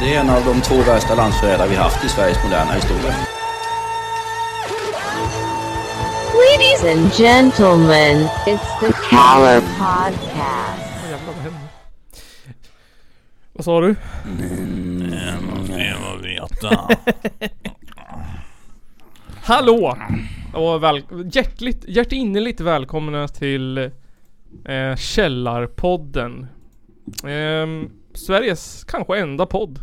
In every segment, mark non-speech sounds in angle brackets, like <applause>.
Det är en av de två värsta landsförrädare vi haft i Sveriges moderna historia. Ladies and gentlemen, it's the Caller Podcast. Jävlar vad händer? Vad sa du? Hallå! Och väl, hjärtligt, hjärtinnerligt välkomna till eh, Källarpodden. Ehm, Sveriges kanske enda podd.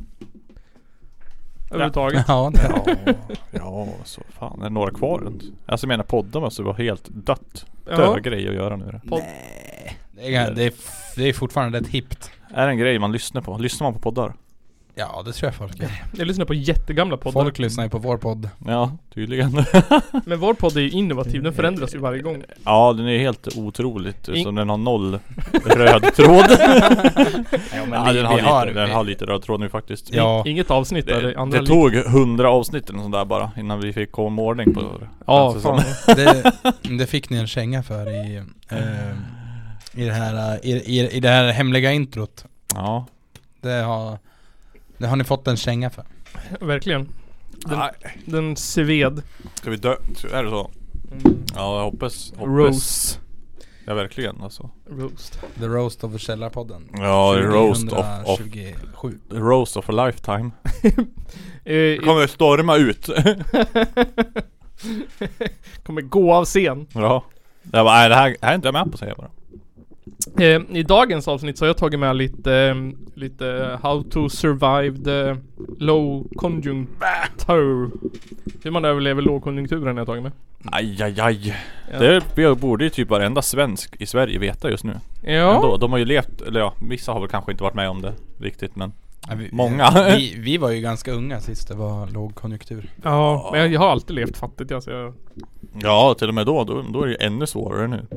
Överhuvudtaget. Ja, det Ja, ja, så fan. Är det några kvar ens? Alltså jag menar poddar måste vara helt dött. Död Ja. grej att göra nu. då. det är, det är, f- det är fortfarande rätt hippt. Är det en grej man lyssnar på? Lyssnar man på poddar? Ja, det tror jag folk gör. Jag lyssnar på jättegamla poddar. Folk lyssnar ju på vår podd. Ja, tydligen. Men vår podd är ju innovativ, den förändras ju varje gång. <laughs> ja, den är helt otroligt. In- Som den har noll röd tråd. Ja, men ja, den, har lite, den har lite röd tråd nu faktiskt. <laughs> Ja, Inget avsnitt är Det, det andra det tog hundra avsnitt eller sånt där bara innan vi fick komma ordning på det. Alltså, Ja, Känns det fan. som. det, det fick ni en känga för i, eh, i, det här, eh, i, i, i det här hemliga introt. <laughs> Ja. Det har, det har ni fått en känga för. Verkligen. Den, Nej. den sved. Ska vi dö? Är det så? Ja, jag hoppas. hoppas. Roast. Ja, verkligen alltså. Roast. The Roast of Källarpodden. Ja, roast of, of 2027. Roast of a lifetime. Eh, Det kommer storma ut. <laughs> kommer gå av scen. ja. Jag bara, nej det här, det här är inte jag med på säger jag bara. Eh, I dagens avsnitt så har jag tagit med lite, ehm, lite How to survive the low conjuncture. Hur man överlever lågkonjunkturen har jag tagit med. Aj, aj, aj. Ja. Det borde ju typ varenda svensk i Sverige veta just nu. Ja. Ändå, de har ju levt, eller ja, vissa har väl kanske inte varit med om det riktigt men. Ja, vi- Många. Vi, vi var ju ganska unga sist det var lågkonjunktur. Ja, men jag, jag har alltid levt fattigt alltså. Jag, Ja, till och med då, då, då är det ju ännu svårare nu.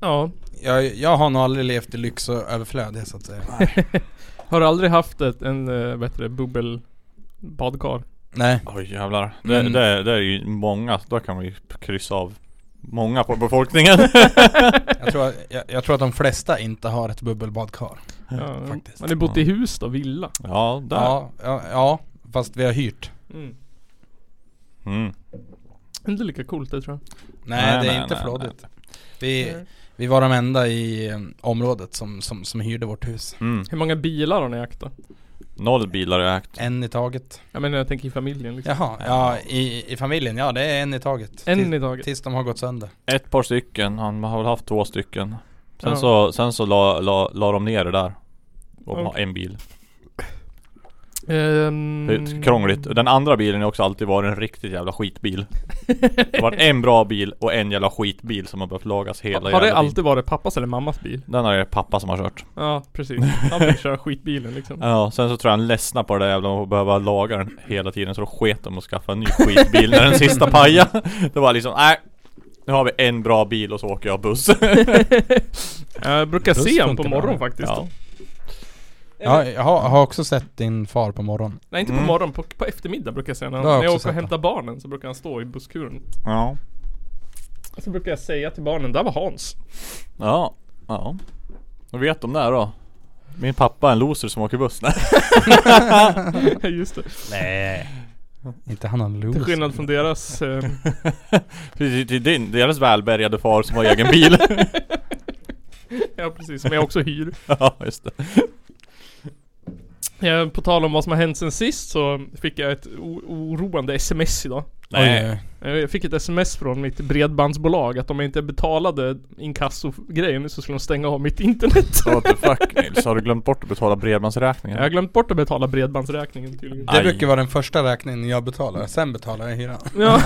ja. Jag, jag har nog aldrig levt i lyx och överflöd det, så att säga. Har aldrig haft ett, en, eh, vad heter det, bubbelbadkar. Nej. Oj jävlar. Det, Mm. det, det är ju många, då kan man ju kryssa av många på befolkningen. <laughs> Jag tror, att- jag, jag tror att de flesta inte har ett bubbelbadkar. Ja. Faktiskt. Man har bott i hus då, villa. ja, där. Ja, ja, ja, fast vi har hyrt. Mm. Mm. Inte lika coolt det tror jag. Nej, Nej, det är nej, inte nej, flådigt. Mm. Vi, vi var de enda i eh, området som, som, som hyrde vårt hus. Mm. Hur många bilar har ni ägt då? Noll bilar har jag ägt. En i taget. Jag menar jag tänker i familjen liksom. Jaha, ja i, i familjen, ja det är en i taget. En Tills- i taget. Tills de har gått sönder. Ett par stycken, han har väl haft två stycken Sen Ja. så, sen så la, la, la de ner det där Och ha Okej. en bil Ehm, Det är Mm. ju Krångligt, den andra bilen har också alltid varit en riktigt jävla skitbil Det var en bra bil och en jävla skitbil som har behövt lagas hela Har jävla det tiden. alltid varit pappas eller mammas bil? Den är det pappa som har kört Ja, precis. Han fick köra skitbilen liksom. Ja, sen så tror jag han ledsnade på det där jävla och behöva laga den hela tiden Så då sket de och skaffa en ny skitbil när den <laughs> sista pajade Det var liksom, nej Nu har vi en bra bil och så åker jag buss Jag Eh, brukar Buss se honom på funkar morgonen bra. faktiskt. ja. Ja, jag har, har också sett din far på morgonen. Nej, inte på Mm. morgonen. På, på eftermiddag brukar jag se när, han, Det har jag när jag åker också och sett, hämtar barnen så brukar han stå i busskuren. ja Så brukar jag säga till barnen, där var Hans. Ja, ja. Vad vet de där då? Min pappa är en loser som åker buss. <laughs> Nej. Just det. Inte han har Till loser. skillnad från deras... Eh, Till, till din, deras välbärgade far som har egen bil. <laughs> ja, precis. Som jag också hyr. ja, just det. Eh, på tal om vad som har hänt sen sist så fick jag ett o- oroande sms idag. Nej. Oj, Eh, Jag fick ett sms från mitt bredbandsbolag att om jag inte betalade inkassogrejen så skulle de stänga av mitt internet. What the fuck Nils, har du glömt bort att betala bredbandsräkningen? Jag har glömt bort att betala bredbandsräkningen tydligen. det Aj. brukar vara den första räkningen jag betalar, sen betalar jag hyran. Ja.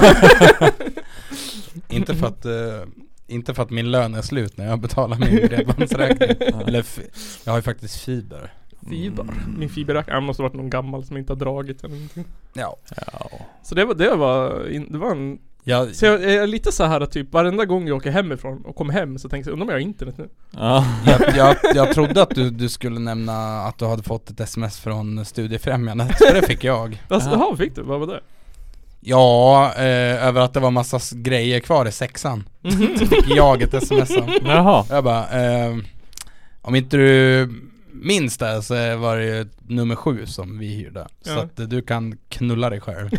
Inte för att eh, inte för att min lön är slut när jag betalar min <laughs> bredbandsräkning. Eller fi- jag har ju faktiskt fiber. Fiber. Mm. Min fiberräkning. Det måste ha varit någon gammal som inte har dragit eller någonting. Ja. Ja. Så det var, det var, in- det var en... Jag, Så jag är lite så här att typ varenda gång jag åker hemifrån och kommer hem så tänker jag undrar om jag har internet nu? ja. jag, jag, jag trodde att du, du skulle nämna att du hade fått ett sms från Studiefrämjandet, för det fick jag. Alltså, jaha, fick du? Vad var det? Ja, eh, Mhm. över att det var massa s- grejer kvar i sexan. Så fick jag ett sms om. Jaha. Jag bara, eh, om inte du minns det så var det ju nummer sju som vi hyrde. Så Ja. att eh, du kan knulla <laughs> dig själv.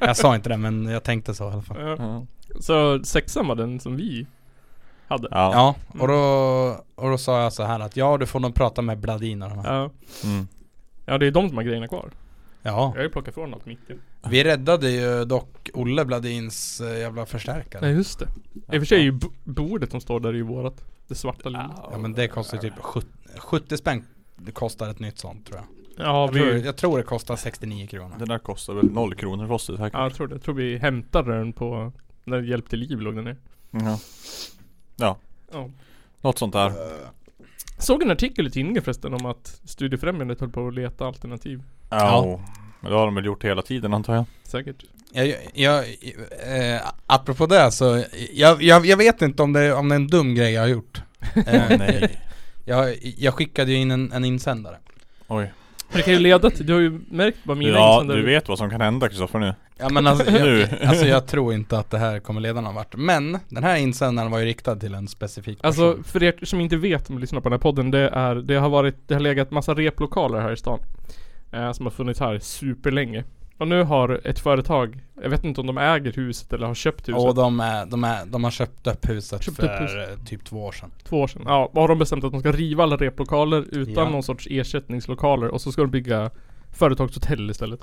jag sa inte det men jag tänkte så i alla fall. Ja. Ja. Så sexan var den som vi hade. Ja. Ja. Ja, och då, Mm. och då sa jag så här att ja du får nog prata med Bladin och de här. Ja. Mm. det är de som har grejerna kvar. Ja, Jag har ju plockat från allt mitt ju. vi räddade ju dock Olle Bladins eh, jävla förstärkare. Nej just det. I och för sig är ju b- bordet som står där är ju vårat. Det svarta lila. Ja men det kostar typ 70, 70 spänn det kostar ett nytt sånt tror jag. Ja Jag vi... tror, jag tror det kostar 69 kronor. Den där kostar väl noll kronor för oss säkert. Ja jag tror det. Jag tror vi hämtade den på... När det hjälpte liv låg den ner. Ja. ja. Ja. Något sånt där. Såg en artikel i tidningen förresten om att Studiefrämjandet höll på att leta alternativ. Ja. Men det har de väl gjort hela tiden antar jag. Säkert. Jag, jag, eh, apropå det så, jag, jag, jag vet inte om det, om det är en dum grej jag har gjort. Eh, Nej. <laughs> jag, jag skickade ju in en, en insändare. Oj. Men det kan ju leda till... Du har ju märkt vad mina Ja, insändare- du vet vad som kan hända Kristoffer nu. Ja, men alltså, jag, Nu. alltså jag tror inte att det här kommer leda någon vart. Men den här insändaren var ju riktad till en specifik person. Alltså för er som inte vet om ni lyssnar på den här podden, det är, det har varit, det har legat massa replokaler här i stan. Eh, som har funnits här superlänge. Och nu har ett företag, jag vet inte om de äger huset eller har köpt huset, och de, är, de, är, de har köpt upp huset Köpt upp för huset. eh, typ två år sedan. två år sedan. Ja, och har de bestämt att de ska riva alla replokaler utan Ja. någon sorts ersättningslokaler och så ska de bygga företagshotell istället.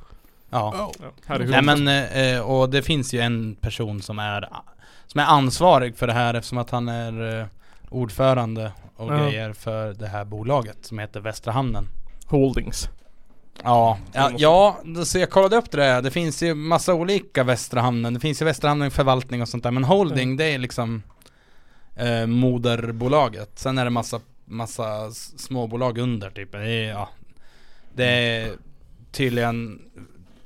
Ja. Ja, här är Nej huset. men, eh, eh, och det finns ju en person som är, som är ansvarig för det här eftersom att han är eh, ordförande och Ja. grejer för det här bolaget som heter Västra Hamnen. Holdings. Ja, ja, ja så jag kollade upp det där. Det finns ju massa olika Västra Hamnen. Det finns ju Västra Hamnen förvaltning och sånt där. Men Holding Mm. det är liksom eh, moderbolaget. Sen är det massa, massa s- småbolag under typ. Det är, ja. det är tydligen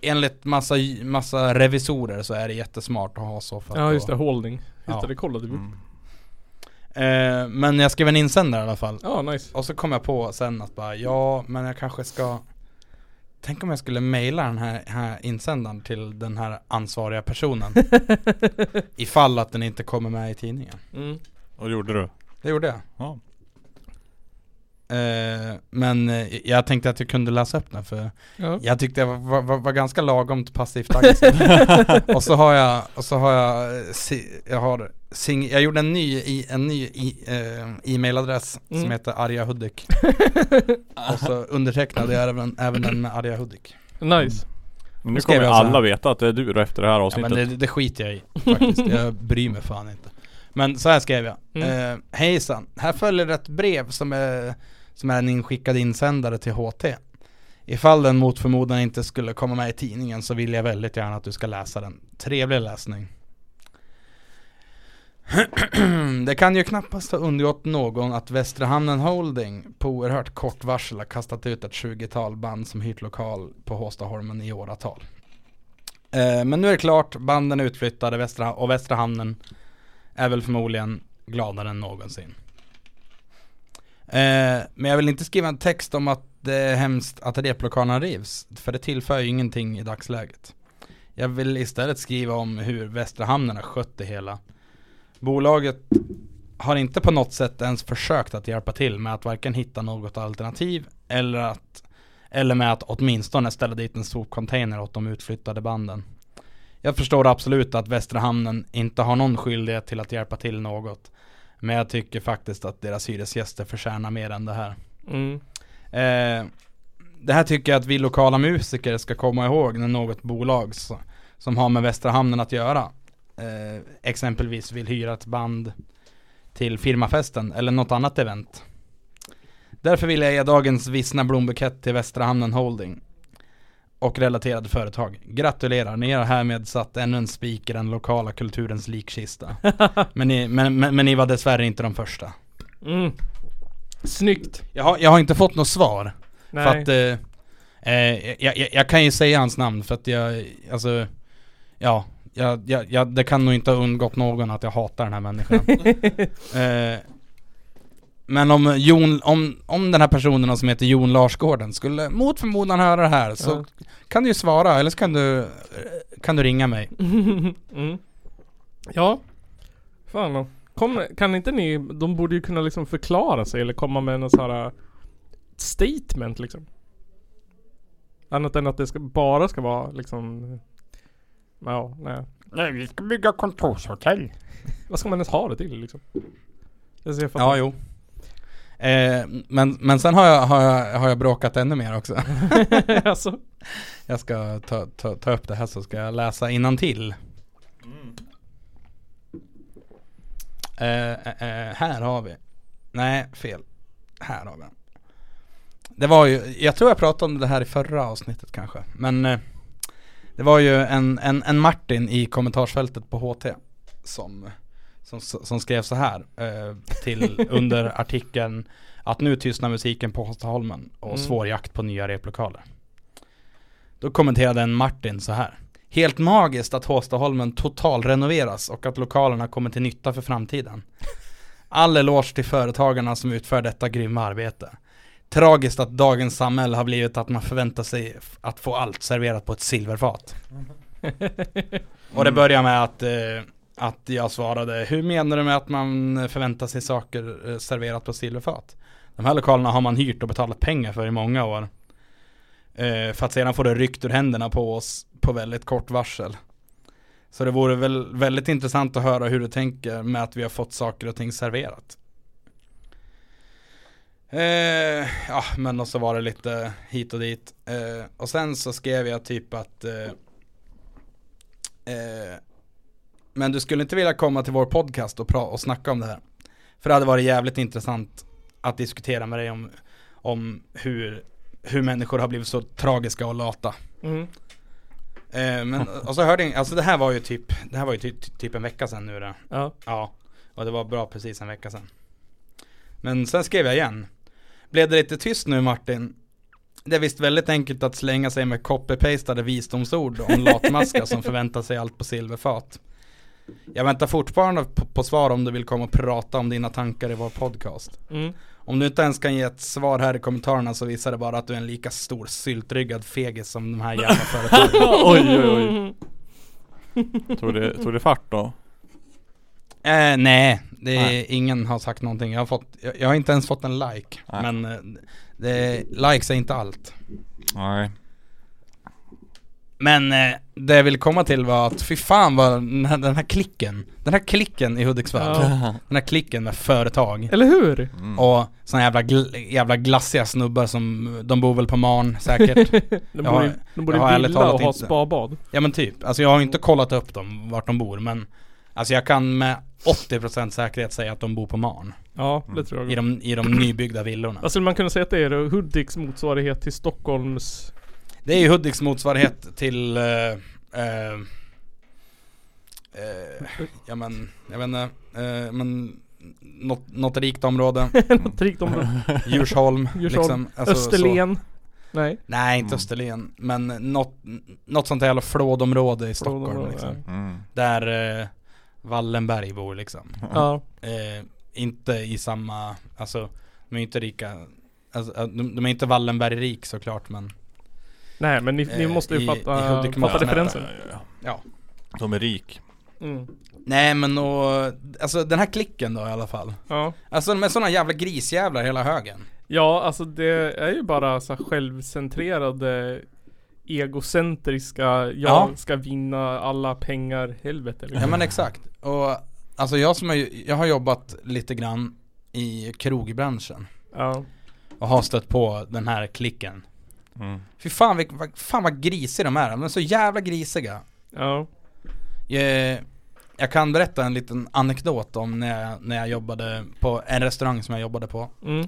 Enligt massa, massa revisorer så är det jättesmart att ha så för att Ja just då- det, Holding. Just Ja. Mm. det, det kollade vi upp. Eh, Men jag skrev en insändare i alla fall Ja, nice. Och så kom jag på sen att bara, ja men jag kanske ska Tänk om jag skulle mejla den här, här insändaren till den här ansvariga personen Ifall att den inte kommer med i tidningen Mm. Och det gjorde du? Det gjorde jag Ja. Eh, Men eh, jag tänkte att jag kunde läsa upp den för Ja. Jag tyckte jag var, var, var ganska lagomt <laughs> passivt aggressiv Och så har jag, och så har jag, eh, si- jag har sing, jag gjorde en ny, i, en ny i, eh, e-mailadress som Mm. heter <laughs> arga Hudik Och så undertecknade jag även, även den med arga Hudik Nice. Men nu Nu skrev kommer ju jag så här. alla veta att det är du då efter det här ja, men avsnittet. det, det skiter jag i faktiskt, jag bryr mig fan inte Men så här skrev jag Mm. eh, Hejsan, här följer ett brev som är, som är en inskickad insändare till HT Ifall den mot förmodan inte skulle komma med i tidningen så vill jag väldigt gärna att du ska läsa den. Trevlig läsning. <clears throat> Det kan ju knappast ha undgått någon att Västra Hamnen Holding på oerhört kort varsel har kastat ut ett 20-tal band som hyrt lokal på Håstaholmen i åratal. Eh, Men nu är det klart, banden är utflyttade Västra, och Västra Hamnen är väl förmodligen gladare än någonsin. Eh, men jag vill inte skriva en text om att det är hemskt att replokalerna rivs, för det tillför ju ingenting i dagsläget. Jag vill istället skriva om hur Västra Hamnen har skött det hela. Bolaget har inte på något sätt ens försökt att hjälpa till med att varken hitta något alternativ eller, att, eller med att åtminstone ställa dit en sopcontainer åt de utflyttade banden. Jag förstår absolut att Västra Hamnen inte har någon skyldighet till att hjälpa till något. Men jag tycker faktiskt att deras hyresgäster förtjänar mer än det här. Mm. Eh, det här tycker jag att vi lokala musiker ska komma ihåg när något bolag s- som har med Västra Hamnen att göra eh, exempelvis vill hyra ett band till firmafesten eller något annat event. Därför vill jag ge dagens vissna blombukett till Västra Hamnen Holding och relaterade företag. Gratulerar, ni har härmed satt ännu en spik i den lokala kulturens likkista. Men ni, men, men, men ni var dessvärre inte de första. Mm. Snyggt. Jag har, jag har inte fått något svar. Nej. För att, eh, eh, jag, jag, jag kan ju säga hans namn för att jag, alltså, ja, jag, jag, jag, det kan nog inte ha undgått någon att jag hatar den här människan. eh, men om, Jon, om, om den här personen som heter Jon Larsgården skulle mot förmodan höra det här så kan du ju svara eller så kan du, eh, kan du ringa mig. mm. Ja. Fan då. Kom, kan inte ni, de borde ju kunna liksom förklara sig eller komma med någon så här statement liksom. Annat än att det ska, bara ska vara liksom Ja, nej. Nej, vi ska bygga kontorshotell. Vad ska man ens ha det till liksom? Jag ser Ja, jo. Eh, men, men sen har jag, har, jag, har jag bråkat ännu mer också. ja. alltså. Jag ska ta, ta, ta upp det här så ska jag läsa innantill. Eh, eh, eh, här har vi. Nej, fel. Här har vi den. Det var ju, jag tror jag pratade om det här i förra avsnittet kanske. Men eh, det var ju en, en, en Martin i kommentarsfältet på HT som, som, som skrev så här eh, till under artikeln att nu tystnar musiken på Hostaholmen och Mm. svår jakt på nya replokaler. Då kommenterade en Martin så här. Helt magiskt att Håstaholmen totalrenoveras och att lokalerna kommer till nytta för framtiden. All eloge till företagarna som utför detta grymma arbete. Tragiskt att dagens samhälle har blivit att man förväntar sig f- att få allt serverat på ett silverfat. Och det börjar med att, eh, att jag svarade, hur menar du med att man förväntar sig saker eh, serverat på silverfat? De här lokalerna har man hyrt och betalat pengar för i många år. Eh, för att sedan få det ryckt ur händerna på oss på väldigt kort varsel. Så det vore väl väldigt intressant att höra hur du tänker med att vi har fått saker och ting serverat. Eh, ja, men och så var det lite hit och dit. Eh, och sen så skrev jag typ att eh, eh, Men du skulle inte vilja komma till vår podcast och, pra- och snacka om det här. För det hade varit jävligt intressant att diskutera med dig om, om hur, hur människor har blivit så tragiska och lata. Mm. Eh, men, och så hörde jag, alltså det här var ju typ, det här var ju typ, typ en vecka sedan nu det. Ja. Ja, och det var bra precis en vecka sedan. Men sen skrev jag igen. Blev det lite tyst nu Martin? Det är visst väldigt enkelt att slänga sig med copy-pastade visdomsord om latmaskar som förväntar sig allt på silverfat. Jag väntar fortfarande på, på svar om du vill komma och prata om dina tankar i vår podcast. Mm. Om du inte ens kan ge ett svar här i kommentarerna så visar det bara att du är en lika stor syltryggad fegis som de här jävla <laughs> företagen. <laughs> oj oj oj. Tog det, tog det fart då? Eh, nej, det är, Nej. ingen har sagt någonting. Jag har, fått, jag, jag har inte ens fått en like. Nej. Men eh, det, likes är inte allt. Nej. Men eh, det jag ville komma till var att fy fan vad den här, den här klicken, den här klicken i Hudiksvall, Ja. den här klicken med företag Eller hur? Mm. och såna jävla, gl- jävla glassiga snubbar som, de bor väl på Marn säkert. De Jag borde, har- de borde jag har ärligt villa och talat ha inte. spabad. Ja men typ, alltså jag har ju inte kollat upp dem, vart de bor men Alltså jag kan med 80% säkerhet säga att de bor på Marn. Ja, det tror jag. Mm. I de, i de nybyggda villorna. Vad skulle man kunna säga att det är då? Hudiks motsvarighet till <laughs> Stockholms... Det är ju Hudiks motsvarighet till... eh, eh, eh, ja men, jag vet inte. eh, men något, något rikt område. Något rikt område. <laughs> Djursholm. Djursholm. liksom. Mm. Alltså, så. Österlen. Nej. Nej, inte Mm. Österlen. Men något, något sånt där jävla flådområde i Stockholm Område, liksom. Mm. Där eh, Wallenberg bor liksom. ja. Ja. Eh, inte i samma, alltså de är inte rika. Alltså, eh, de, de är inte Wallenberg-rik såklart men Nej men ni, ni Eh, måste i- ju i fatta, Hudik fatta måste- referensen. ja. De är rik. Mm. Nej men och, alltså den här klicken då i alla fall. Ja. Alltså de är sådana jävla grisjävlar hela högen. ja, alltså det är ju bara så här självcentrerade egocentriska, jag Ja. ska vinna alla pengar, helvete Ja liksom. men exakt. Och alltså jag som har, ju- jag har jobbat lite grann i krogbranschen Ja. och har stött på den här klicken. Mm. Fy fan, vilk- vad- fan vad grisiga de är, de är så jävla grisiga. Ja. Jag, Eh, jag kan berätta en liten anekdot om när jag, när jag jobbade på en restaurang som jag jobbade på. Mm.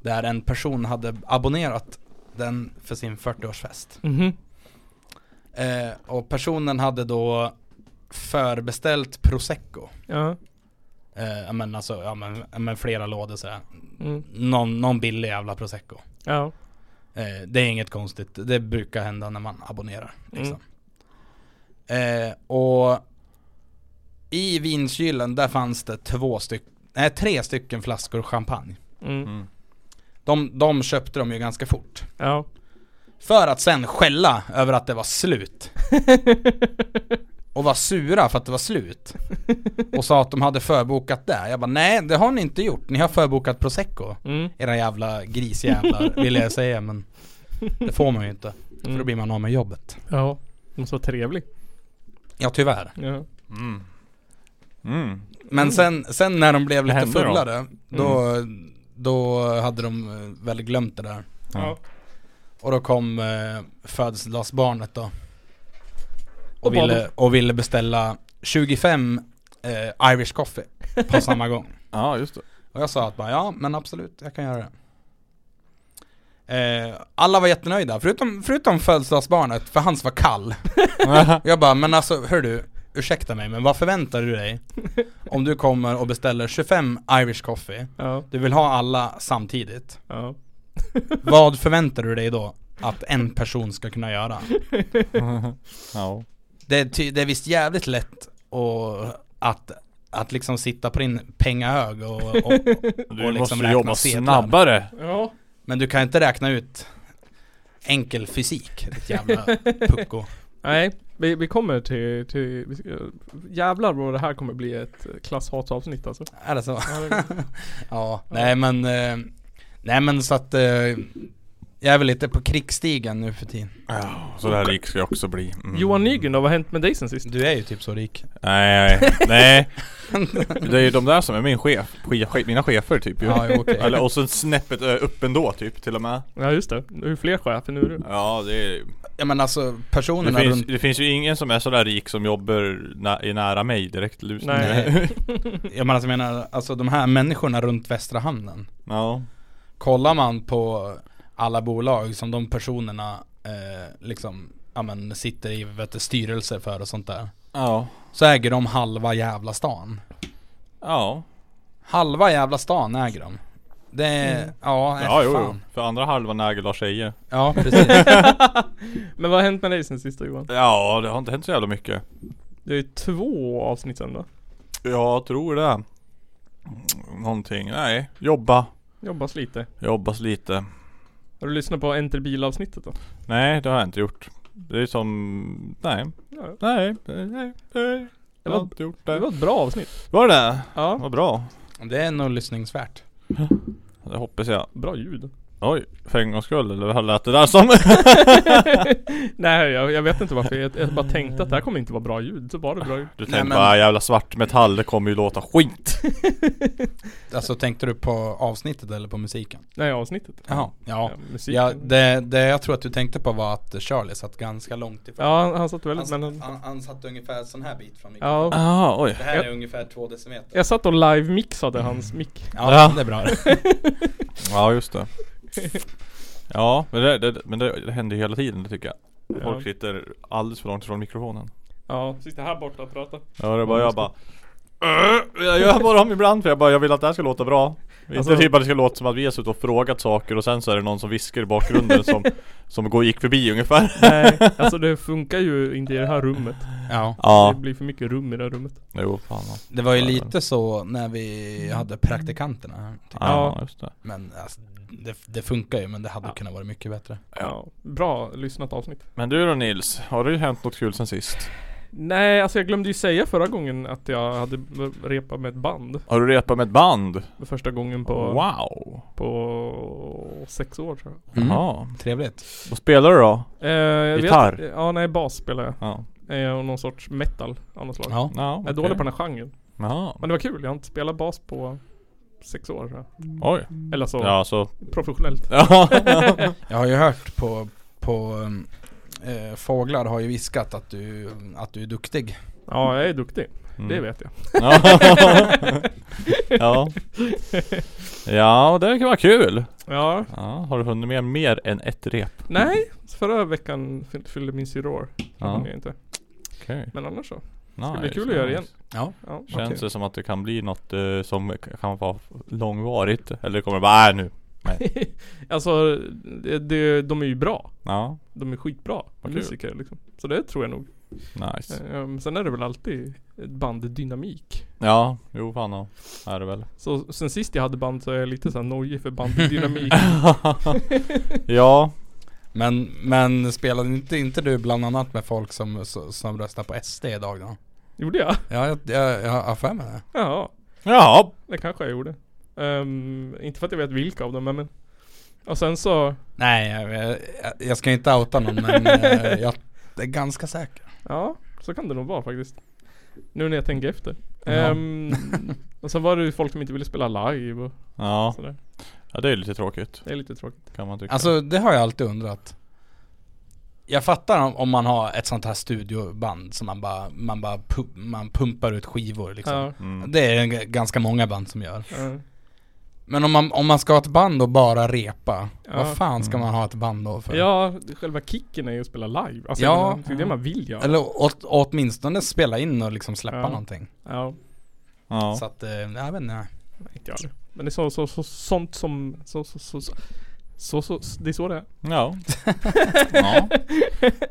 Där en person hade abonnerat den för sin 40-årsfest. Mhm. Eh, och personen hade då förbeställt prosecco. Ja. Eh, ja, men alltså, ja men, ja, men flera lådor sådär. Mm. Någon, någon billig jävla prosecco. Ja. Eh, det är inget konstigt, det brukar hända när man abonnerar. Liksom. Eh, och i vinkylen där fanns det två stycken, nej tre stycken flaskor champagne. Mm. Mm. De, de köpte de ju ganska fort. Ja. För att sen skälla över att det var slut. och var sura för att det var slut. Och sa att de hade förbokat det. Jag bara nej det har ni inte gjort, ni har förbokat prosecco. Mm. Era <laughs> jävla grisjävlar ville jag säga men det får man ju inte. För då Mm. blir man av med jobbet. Ja. Det måste vara trevlig. Ja tyvärr. Ja. Mm. Mm. Men sen, sen när de blev lite hände då? Mm. fullare, då, då hade de eh, väl glömt det där. Ja. Och då kom eh, födelsedagsbarnet då. Och, Och bad ville, och ville beställa 25 eh, Irish coffee <laughs> på samma gång. Ja <laughs> just det. Och jag sa att bara, ja men absolut, jag kan göra det. Eh, alla var jättenöjda, förutom, förutom födelsedagsbarnet, för hans var kall. Och jag bara, men alltså hör du, ursäkta mig men vad förväntar du <laughs> dig? Om du kommer och beställer 25 Irish coffee, Ja. du vill ha alla samtidigt. Ja. Vad förväntar du dig då att en person ska kunna göra? ja. Det är, ty- det är visst jävligt lätt och att, att liksom sitta på din pengahög och, och, <laughs> Du och liksom måste räkna jobba sedlar. snabbare. Ja. Men du kan inte räkna ut enkel fysik, <laughs> ditt jävla pucko. Nej. Vi, vi kommer till, till vi ska, jävlar vad det här kommer bli ett eh, klasshatsavsnitt alltså. Är det så? Ja, det- <laughs> Ja, nej men eh, Nej men så att eh, Jag är väl lite på krigsstigen nu för tiden Så där rik ska jag också bli. Mm. Johan Nygren då, vad har hänt med dig sen sist? Du är ju typ så rik Nej, nej. Det är ju de där som är min chef. Chef- chef- Mina chefer typ ju. Ja, <laughs> jo, okej. Eller och så snäppet ö, upp ändå typ till och med. Ja just det, du är ju fler chefer nu du. Ja det är Ja men alltså Det personerna finns, runt det finns ju ingen som är sådär rik som jobbar nä, i nära mig direkt liksom. Nej. <laughs> Jag menar, alltså, jag menar alltså de här människorna runt Västra Hamnen <laughs> Ja. Kollar man på alla bolag som de personerna eh, liksom Ja men sitter i vet du, styrelser för och sånt där Ja. Så äger de halva jävla stan Ja. Halva jävla stan äger de Det är, Mm. ja, nej, Ja, jo, jo. fan. För andra halvan äger Lars Eje. Ja precis Men vad har hänt med dig sen sist då Johan? Ja, det har inte hänt så jävla mycket. Det är två avsnitt sen då. Jag tror det. Någonting. Nej, jobba. Jobbas lite. Jobbas lite. Har du lyssnat på Enter Bil-avsnittet då? Nej, det har jag inte gjort. Det är som... Nej. Ja. Nej. Nej. nej. Det Det har jag var, inte gjort det det. var ett bra avsnitt. Var det? Ja. Vad bra. Det är nog lyssningsvärt. Det hoppas jag. Bra ljud. Oj, för en gångs skull. Eller vad lät det där <laughs> som? Nej jag, jag vet inte varför. Jag, jag bara tänkte att det här kommer inte vara bra ljud. Så var det bra ljud. Du Nej, tänkte men- bara jävla svartmetall, det kommer ju låta <laughs> skit. Alltså tänkte du på avsnittet eller på musiken? Nej avsnittet. Jaha, Ja, ja. musiken. ja Ja, det, det jag tror att du tänkte på var att Charlie satt ganska långt ifrån. han, han satt han, väldigt satt- men han, han, han satt ungefär sån här bit från mikrofonen. Ja. Ah, oj. Det här Jag- är ungefär två decimeter. Jag satt och live-mixade hans mick. Ja, Ja. det är bra. Ja, just det. Ja, men det, det, men det, det händer ju hela tiden det tycker jag. Folk sitter alldeles för långt ifrån mikrofonen. Ja, sitter här borta och pratar. Ja, det är bara jag bara "Äh", jag gör bara om ibland för jag bara, jag vill att det här ska låta bra Alltså- Inte typ att det ska låta som att vi har suttit och frågat saker och sen så är det någon som viskar i <laughs> bakgrunden som Som går, gick förbi ungefär Nej, alltså det funkar ju inte i det här rummet. Ja. Ja, Det blir för mycket rum i det här rummet. jo fan ja. Det var ju lite så när vi hade praktikanterna här. tycker jag. Ja, just det Men alltså, det, det funkar ju men det hade kunnat vara mycket bättre. Ja. Bra lyssnat avsnitt. Men du då Nils, har det ju hänt något kul sen sist? Nej, alltså jag glömde ju säga förra gången att jag hade b- repat med ett band. Har du repat med ett band? För första gången på, Wow! på sex år tror jag. Ja, Mm. Trevligt. vad spelar du då? Eh, jag Gitarr? Vet, ja, nej bas spelar jag. Ja, Eh, och någon sorts metal av något slag. Ja. ja Jag är dålig på den här genren. den Ja, Men det var kul, jag har inte spelat bas på sex år tror jag. oj Eller så Ja, så professionellt. <laughs> Ja, Jag har ju hört på, på um, eh, Fåglar har ju viskat att du, att du är duktig. Ja, jag är duktig. Mm. Det vet jag. <laughs> Ja Ja, det kan vara kul Ja, Ja, har du hunnit med mer än ett rep? nej. Förra veckan fyll- fyllde min syrra år. Ja. Ja. inte. Okej Men annars så. nice. bli kul att göra igen. Ja. Ja. Känns Okej. det som att det kan bli något eh, som k- kan vara långvarigt? Eller kommer det bara, äh, nu Alltså, det, det, de är ju bra. Ja, De är skitbra Vad kul. musiker liksom. Så det tror jag nog. nice Ehm, sen är det väl alltid ett band dynamik. Ja, jo fan ja, är det väl <laughs> Så sen <laughs> sist jag hade band så är jag lite såhär nojig för band dynamik. Ja, Men, men spelade inte, inte du bland annat med folk som, som, som röstar på SD idag då? Gjorde jag? Ja, jag, jag, jag har för mig det. Ja, Ja, det kanske jag gjorde. Ehm, inte för att jag vet vilka av dem men- men. Och sen så, Nej, jag, jag, jag ska inte outa någon men <laughs> eh, jag är ganska säker. ja, så kan det nog vara faktiskt. Nu när jag tänker efter. Ja. Ehm, och sen var det ju folk som inte ville spela live och ja. sådär. ja det är ju lite tråkigt Det är lite tråkigt. kan man tycka Alltså det har jag alltid undrat. Jag fattar om, om man har ett sånt här studioband som man bara, man bara pu- man pumpar ut skivor liksom. Ja, mm. Det är g- ganska många band som gör. ja. Men om man, om man ska ha ett band och bara repa, Ja. vad fan ska man ha ett band då för? ja, själva kicken är ju att spela live. Alltså, Ja. jag menar, det är det man vill göra. Eller åt, åtminstone spela in och liksom släppa Ja. någonting. Ja, ja. Så att, eh, jag vet inte. inte jag det. Men det är så, så, så, sånt som, så, så, så, så, så, så, så det är så det är. <laughs> Ja. ja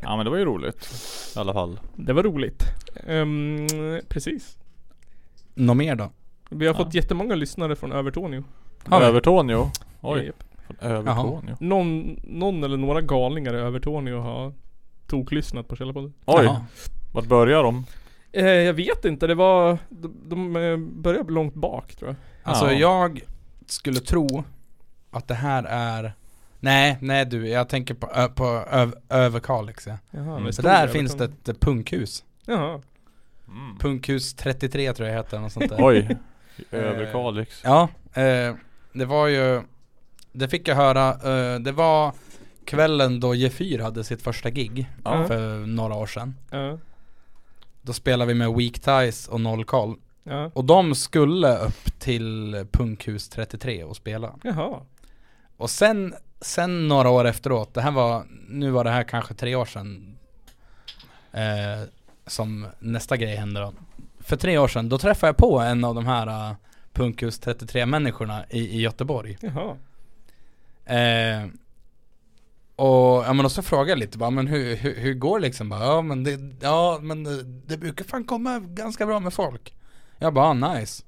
Ja men det var ju roligt I alla fall Det var roligt. Ehm, precis. Något mer då? Vi har fått jättemånga lyssnare från Övertorneå. Har vi? Övertorneå Oj, Japp. från Övertorneå Någon, någon eller några galningar i Övertorneå har toklyssnat på Källarpodden. Oj, Jaha. vart börjar de? Eh, jag vet inte, det var... De, de eh, började långt bak tror jag. Alltså Ja. jag skulle tro att det här är Nej, nej du, jag tänker på, ö, på öv, Överkalix ja. Jaha, Mm. det är Så Så stor där Övertorneå. finns det ett eh, punkhus Jaha. Mm. Punkhus 33 tror jag heter, något sånt där <laughs> Oj, i Överkalix Ja, eh, det var ju Det fick jag höra, eh, det var kvällen då G4 hade sitt första gig Ja. för några år sedan Ja. Då spelade vi med Weak Ties och Noll Call ja. Och de skulle upp till Punkhus 33 och spela Jaha. Och sen, sen några år efteråt, det här var, nu var det här kanske tre år sedan eh, Som nästa grej hände då För tre år sedan, då träffade jag på en av de här eh, Punkhus 33 människorna i, i Göteborg Jaha. eh, Och ja men och så frågade jag lite bara, men hur, hur, hur går det liksom? Bara, ja men det, ja men det, det brukar fan komma ganska bra med folk Jag bara, ah, nice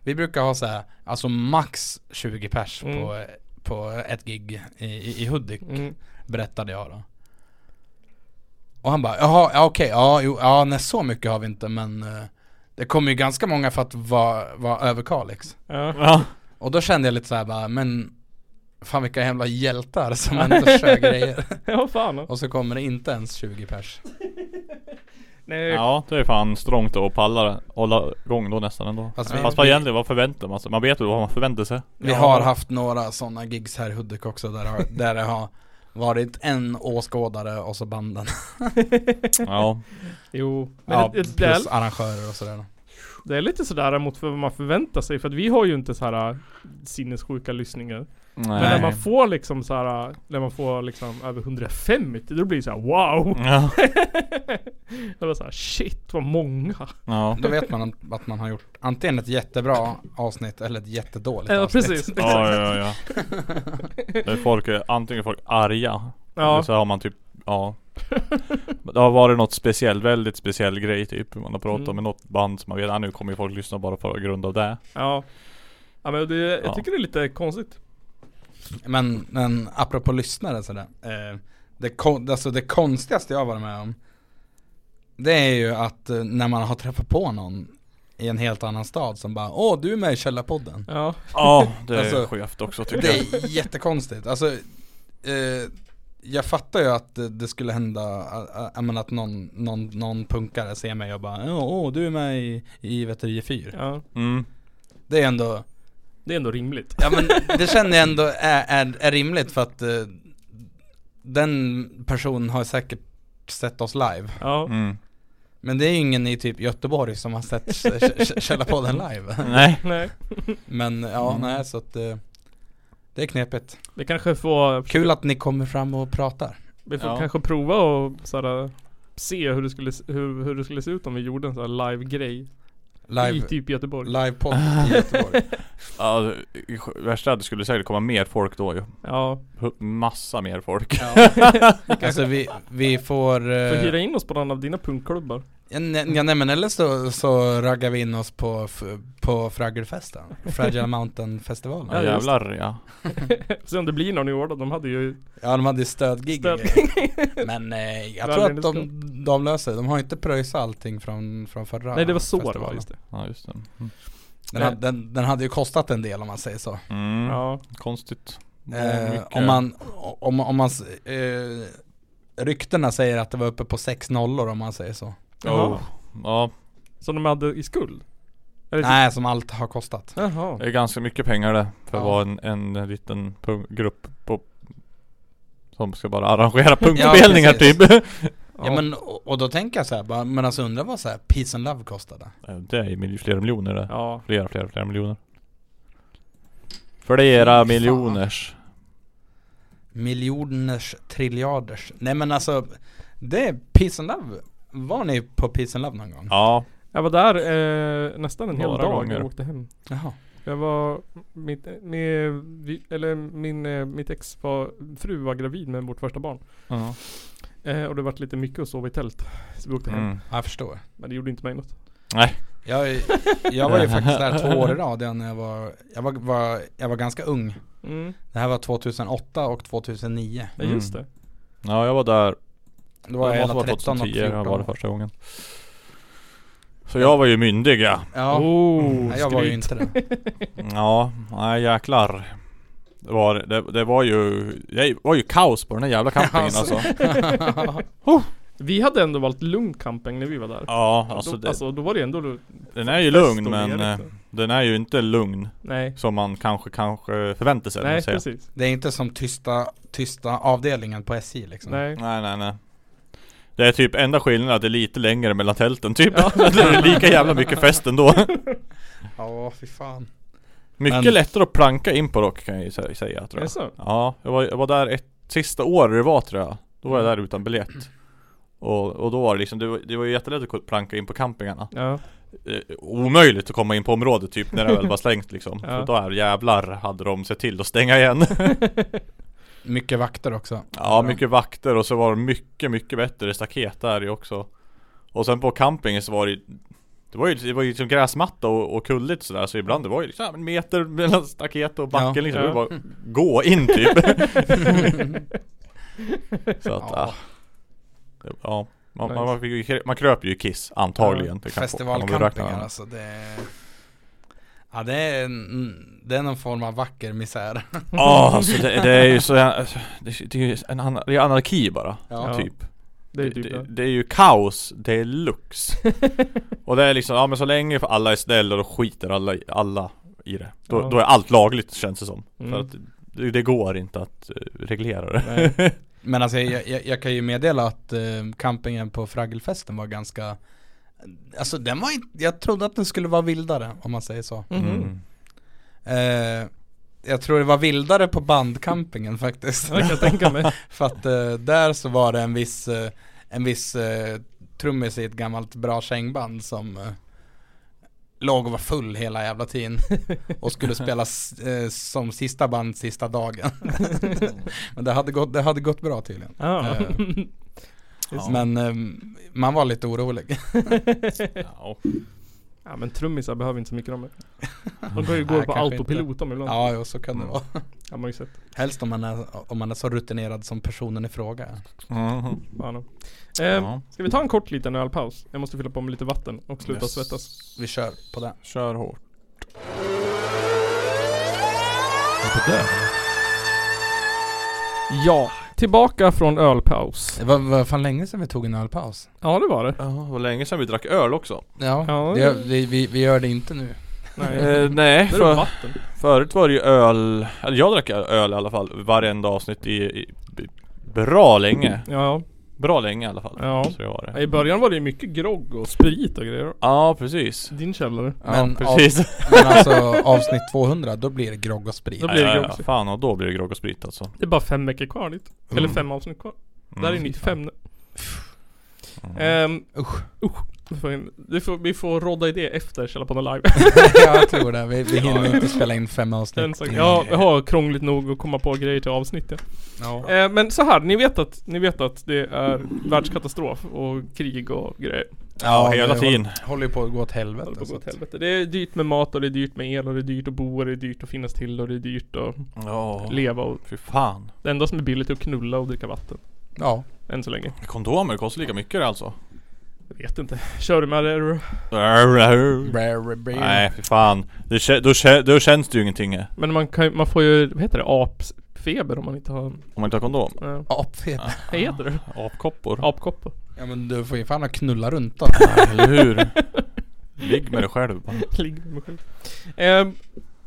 Vi brukar ha så här, alltså max 20 pers Mm. på på ett gig i, i, i Hudik Mm. berättade jag då. Och han bara, jaha, ja, okej, ja, jo, ja, nej så mycket har vi inte men eh, det kommer ju ganska många för att vara vara överkalix. Ja. <laughs> Ja, Och då kände jag lite så här bara, men fan vilka jävla <laughs> hjältar som inte kör grejer. ja, fan. Och så kommer det inte ens 20 pers. Nej, ja det är fan strångt att palla Hålla igång då nästan ändå Fast Fast, vi- vad egentligen, vad förväntar man sig? Man vet ju vad man förväntar sig Vi Ja. har haft några sådana gigs här i Hudik också där, har- där det har varit en åskådare och så banden. Ja, Jo. Men Ja, det, det, det, är, plus arrangörer och sådär. då. det är lite sådär mot vad man förväntar sig. För att vi har ju inte så här äh, sinnessjuka lyssningar. Men när nej man får liksom så här, när man får liksom över 150, då blir det så här Mm. wow! Ja, <laughs> Det var så här, shit vad många! ja Då vet man att man har gjort antingen ett jättebra avsnitt eller ett jättedåligt Ja avsnitt. precis, exakt. Ja, ja, <laughs> ja. Det är folk, eh, antingen är folk arga, eller <laughs> Ja, så har man typ, ja. Men Det har varit något speciellt, väldigt speciell grej typ. Man har pratat Mm. med något band som man vet, ah, nu kommer ju folk lyssna bara på grund av det. ja. ja men det, jag Ja. tycker det är lite konstigt. Men, men apropå lyssnare sådär. Eh, det, kon- alltså det konstigaste jag har varit med om. Det är ju att eh, när man har träffat på någon i en helt annan stad som bara Åh du är med i Källarpodden. Ja, Ja, <laughs> det är Alltså, skevt också tycker Det jag. är jättekonstigt. Alltså, eh, jag fattar ju att eh, det skulle hända, eh, eh, jag menar att någon, någon, någon punkare ser mig och bara Åh du är med i, i vet du, G4. ja. Mm. Det är ändå Det är ändå rimligt. Ja men det känner jag ändå är, är, är rimligt för att eh, den personen har säkert sett oss live. Ja, Mm. Men det är ju ingen i typ Göteborg som har sett eh, K- K- Källarpodden live. Nej. nej. Men ja, nej så att eh, det är knepigt. Vi kanske får, Kul att ni kommer fram och pratar. vi får Ja. kanske prova och så här, se hur det, skulle, se- hur, hur det skulle se ut om vi gjorde en sån här live-grej. I Live, typ Göteborg. livepodd i Göteborg. Ja, det- i sj- värsta är att det skulle säkert komma mer folk då ju. Ja. Hu- Massa mer folk. Ja. Alltså vi, vi får... eh, Får hyra in oss på någon av dina punkklubbar. Ja, nej, ja, nej men eller så, så raggar vi in oss på, f- på Fraggelfesten, Fragile Mountain festivalen Ja, Ja, just jävlar ja. Se om det blir någon i år då, de hade ju... Ja de hade ju stödgig Stöd- och grejer. Men eh, jag Väl tror att de, minnesgod. de löser det, de har ju inte pröjsat allting från, från förra Nej det var så det var, festivalen. just det. Ja just det. Mm. Den, hade, den, den hade ju kostat en del om man säger så Mm. Ja. Oh. Konstigt. eh, Mycket. Om man, om, om man, s- eh, ryktena säger att det var uppe på sex nollor om man säger så Oh. Ja, Som de hade i skuld? Eller Nej som allt har kostat Jaha. det är ganska mycket pengar det. För att Ja. vara en, en liten punk- grupp på som ska bara arrangera punkspelningar <laughs> Ja, precis. typ. <laughs> Ja, men och, och då tänker jag så här, bara, men alltså undrar vad så här Peace and Love kostade? Eh, Det är ju mil- flera miljoner det. Ja. Flera, flera, flera miljoner. Flera fan. miljoners. Miljoners, triljarders. Nej men alltså, det är Peace and Love. Var ni på Peace and Love någon gång? Ja. Jag var där eh, nästan en hel Några dag gånger. och åkte hem. Jaha. Jag var, mitt, eh, med, vi, eller min, eh, mitt ex var, fru var gravid med vårt första barn. Ja. Eh, och det vart lite mycket att sova i tält. Så vi åkte hem. Mm. Ja, jag förstår. Men det gjorde inte mig något. Nej. Jag, <laughs> jag var ju faktiskt där två år i rad ja, när jag var, jag var, var, jag var ganska ung. Mm. Det här var 2008 och 2009. Ja just Mm. det. Ja, jag var där. Då var jag det måste hela vara 13 och 2010 jag 14. var det första gången. Så jag var ju myndig ja. Ja, Oh, nej, jag var ju skryt. inte det. Ja, nej jäklar. Det var, det, det var ju, det var ju kaos på den här jävla campingen Ja, alltså. alltså. <laughs> <laughs> Vi hade ändå valt lugn camping när vi var där. Oh! Ja, då, alltså, det, alltså då var det ändå den är ju fest lugn och men ledigt. eh, den är ju inte lugn Nej. som man kanske, kanske förväntar sig. Nej att säga. precis. Det är inte som tysta, tysta avdelningen på SJ Mm. liksom. Nej. Nej, nej, nej. Det är typ enda skillnaden att det är lite längre mellan tälten typ. <laughs> det är lika jävla mycket <laughs> fest ändå. Ja, fy fan. Mycket Men- lättare att planka in på rock kan jag ju sä- säga Är det tror jag. så? Ja, jag var, jag var där ett sista år det var tror jag. Då var jag Mm. där utan biljett. Och, och då var det liksom, det var, det var ju jättelätt att planka in på campingarna. Ja. eh, omöjligt att komma in på området typ när det väl var slängt liksom. <laughs> Ja. Så där jävlar hade de sett till att stänga igen. <laughs> Mycket vakter också. ja, mycket vakter och så var det mycket, mycket bättre staket där ju också. Och sen på campingen så var det ju- det var ju, det var ju liksom gräsmatta och, och kulligt sådär så ibland det var ju liksom ja, en meter mellan staket och backen Ja. liksom. Ja. Det var bara gå in typ. <laughs> så att, ja. Ja. Det, ja. Man, man, Nice. man, fick ju- man kröp ju i kiss antagligen. Det kan- kan man väl räkna Festivalcampingar med. alltså, det Ja det är, en, det är någon form av vacker misär Ja, alltså det, det är ju så Det, det är ju en anar, det är anarki bara, Ja. typ Det är det, det, typ det är ju kaos deluxe <laughs> Och det är liksom, ja men så länge alla är snälla då skiter alla, i- alla i det då, Ja. då är allt lagligt känns det som Mm. För att det, det går inte att eh, reglera det Nej. Men alltså jag, jag, jag kan ju meddela att eh, campingen på Fraggelfesten var ganska Alltså den var inte, jag trodde att den skulle vara vildare om man säger så Mm-hmm. mm. eh, Jag tror det var vildare på bandcampingen faktiskt Jag kan tänka mig. <laughs> För att eh, där så var det en viss, eh, en viss eh, trummis i ett gammalt bra kängband som eh, låg och var full hela jävla <laughs> tiden och skulle spela s- eh, som sista band sista dagen. <laughs> Men det hade gått, det hade gått bra tydligen. Ja. Eh, Men eh, man var lite orolig. Ja. <laughs> ja men trummisar behöver inte så mycket de De går ju gå Nej, på kanske autopilot de ibland. <laughs> ja, jo, så kan det vara. Har man ju sett. Helst om man, är, om man är så rutinerad som personen i fråga. Mhm. Fan. Eh, Ja. Ska vi ta en kort liten ölpaus? Jag måste fylla på med lite vatten och sluta Yes. svettas. Vi kör på det. Kör hårt Vad är det där? Ja, tillbaka från ölpaus. Det var, var fan länge sedan vi tog en ölpaus. Ja det var det. Ja, det var länge sedan vi drack öl också Ja, Ja. det, vi, vi, vi gör det inte nu. Nej. eh, Där är Mm-hmm. Nej, det för, vatten. Förut var det ju öl, eller jag drack öl i alla fall varenda avsnitt i, i b- bra länge. Ja, Bra länge i alla fall. Ja. Så det var ja. det. I början var det ju mycket grogg och sprit och grejer. Ja, precis. Din källare. ja, Men precis. <laughs> Men alltså avsnitt 200, då blir det grogg och sprit. Då blir det Ja, ja, grogg. ja. Fan och då blir det grogg och sprit alltså. Det är bara fem veckor kvar dit. Eller Mm. fem avsnitt kvar. Mm. Där är 95 nu. Mm. Ehm, Usch. vi får in- vi, får, vi får rodda i det efter Källarpodden <laughs> live. <laughs> ja, jag tror det. Vi, vi hinner inte spela in fem Den avsnitt. saken. Ja, jag har krångligt nog att komma på grejer till avsnitt ja. Ehm, Ja. eh, Men så här, ni vet, att, ni vet att det är världskatastrof och krig och grejer. Ja, hela det tiden. håller- Håller ju på att gå åt helvete. Håller på att så gå att- åt helvete. Det är dyrt med mat och det är dyrt med el och det är dyrt att bo och det är dyrt att finnas till och det är dyrt att Ja. leva och Fy fan. det enda som är billigt är att knulla och dricka vatten. Ja. Än så länge. Kondomer kostar lika mycket det alltså. Jag vet inte. Kör du med det? eller? Brr, brr. Nej, fy fan. Det, kä- då, kä- då känns det ju ingenting eh, Men man, kan, ju- man får ju, vad heter det? Apfeber om man inte har... om man inte har kondom. Eh, Apfeber. vad heter det? Apkoppor. Ah. Apkoppor. <laughs> Ja men du får ju fan ha knulla runt då. Eller hur? Ligg med dig själv bara. Ligg med mig själv. Eh,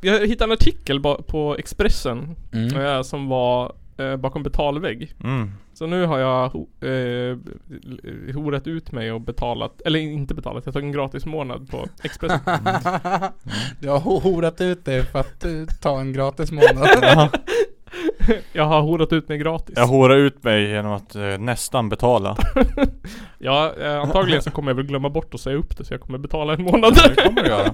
jag hittade en artikel ba- på Expressen Mm. eh, som var eh, bakom betalvägg. Mm. Så nu har jag ho- eh, horat ut mig och betalat, eller inte betalat, jag tog en gratis månad på Expressen. Du Mm. har ho- horat ut dig för att du tar en gratis <laughs> månad. jag har horat ut mig gratis. Jag hårar ut mig genom att eh, nästan betala. Ja, eh, antagligen så kommer jag väl glömma bort att säga upp det så jag kommer betala en månad. <laughs> Det kommer du göra.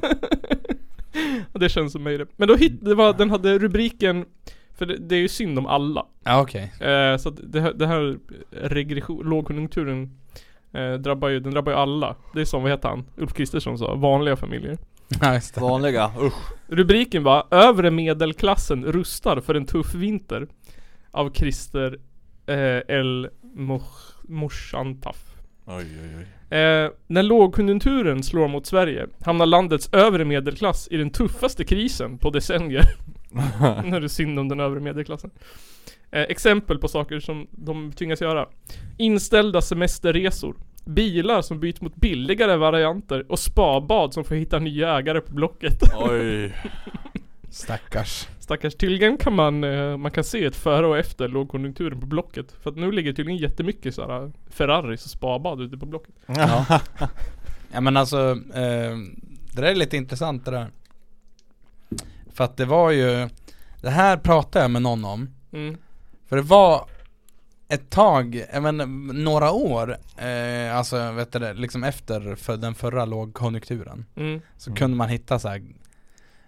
<laughs> Och det känns som mig det. Men då hit, det var, den hade rubriken för det, det är ju synd om alla. ja okej. Eh, så att det, här- det här regression, lågkonjunkturen eh, drabbar ju, den drabbar ju alla. Det är som, vad heter han? Ulf Kristersson sa, vanliga familjer. Ja just det. Vanliga, usch. Rubriken var Övre medelklassen rustar för en tuff vinter Av Christer eh, El Moch- Morsantaf Oj, oj, <laughs> oj. eh, När lågkonjunkturen slår mot Sverige Hamnar landets övre medelklass i den tuffaste krisen på decennier När det är synd om den övre medelklassen eh, Exempel på saker som de tvingas göra Inställda semesterresor Bilar som byts mot billigare varianter och spabad som får hitta nya ägare på Blocket Oj. Stackars. Stackars tydligen kan man, eh, man kan se ett före och efter lågkonjunkturen på Blocket. För att nu ligger tydligen jättemycket såhär Ferraris och spabad ute på Blocket. Ja. ja men alltså, eh, det där är lite intressant det där. För att det var ju, det här pratade jag med någon om. Mm. För det var ett tag, jag menar, några år, eh, alltså vet du det, liksom efter för den förra lågkonjunkturen. Mm. Så kunde man hitta så här,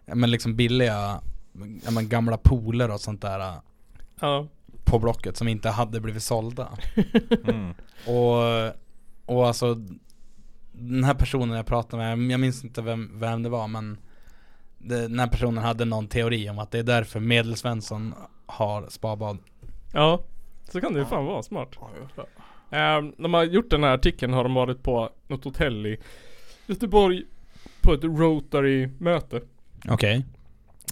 ja, men liksom billiga, ja, men gamla pooler och sånt där eh, Ja. på Blocket som inte hade <laughs> blivit sålda. Mm. Och, och alltså Den här personen jag pratade med, jag minns inte vem, vem det var men det, Den här personen hade någon teori om att det är därför Medelsvensson har spabad Ja. Så kan det ju fan vara smart. Ehm, när man har gjort den här artikeln har de varit på något hotell i Göteborg. På ett Rotary-möte. Okej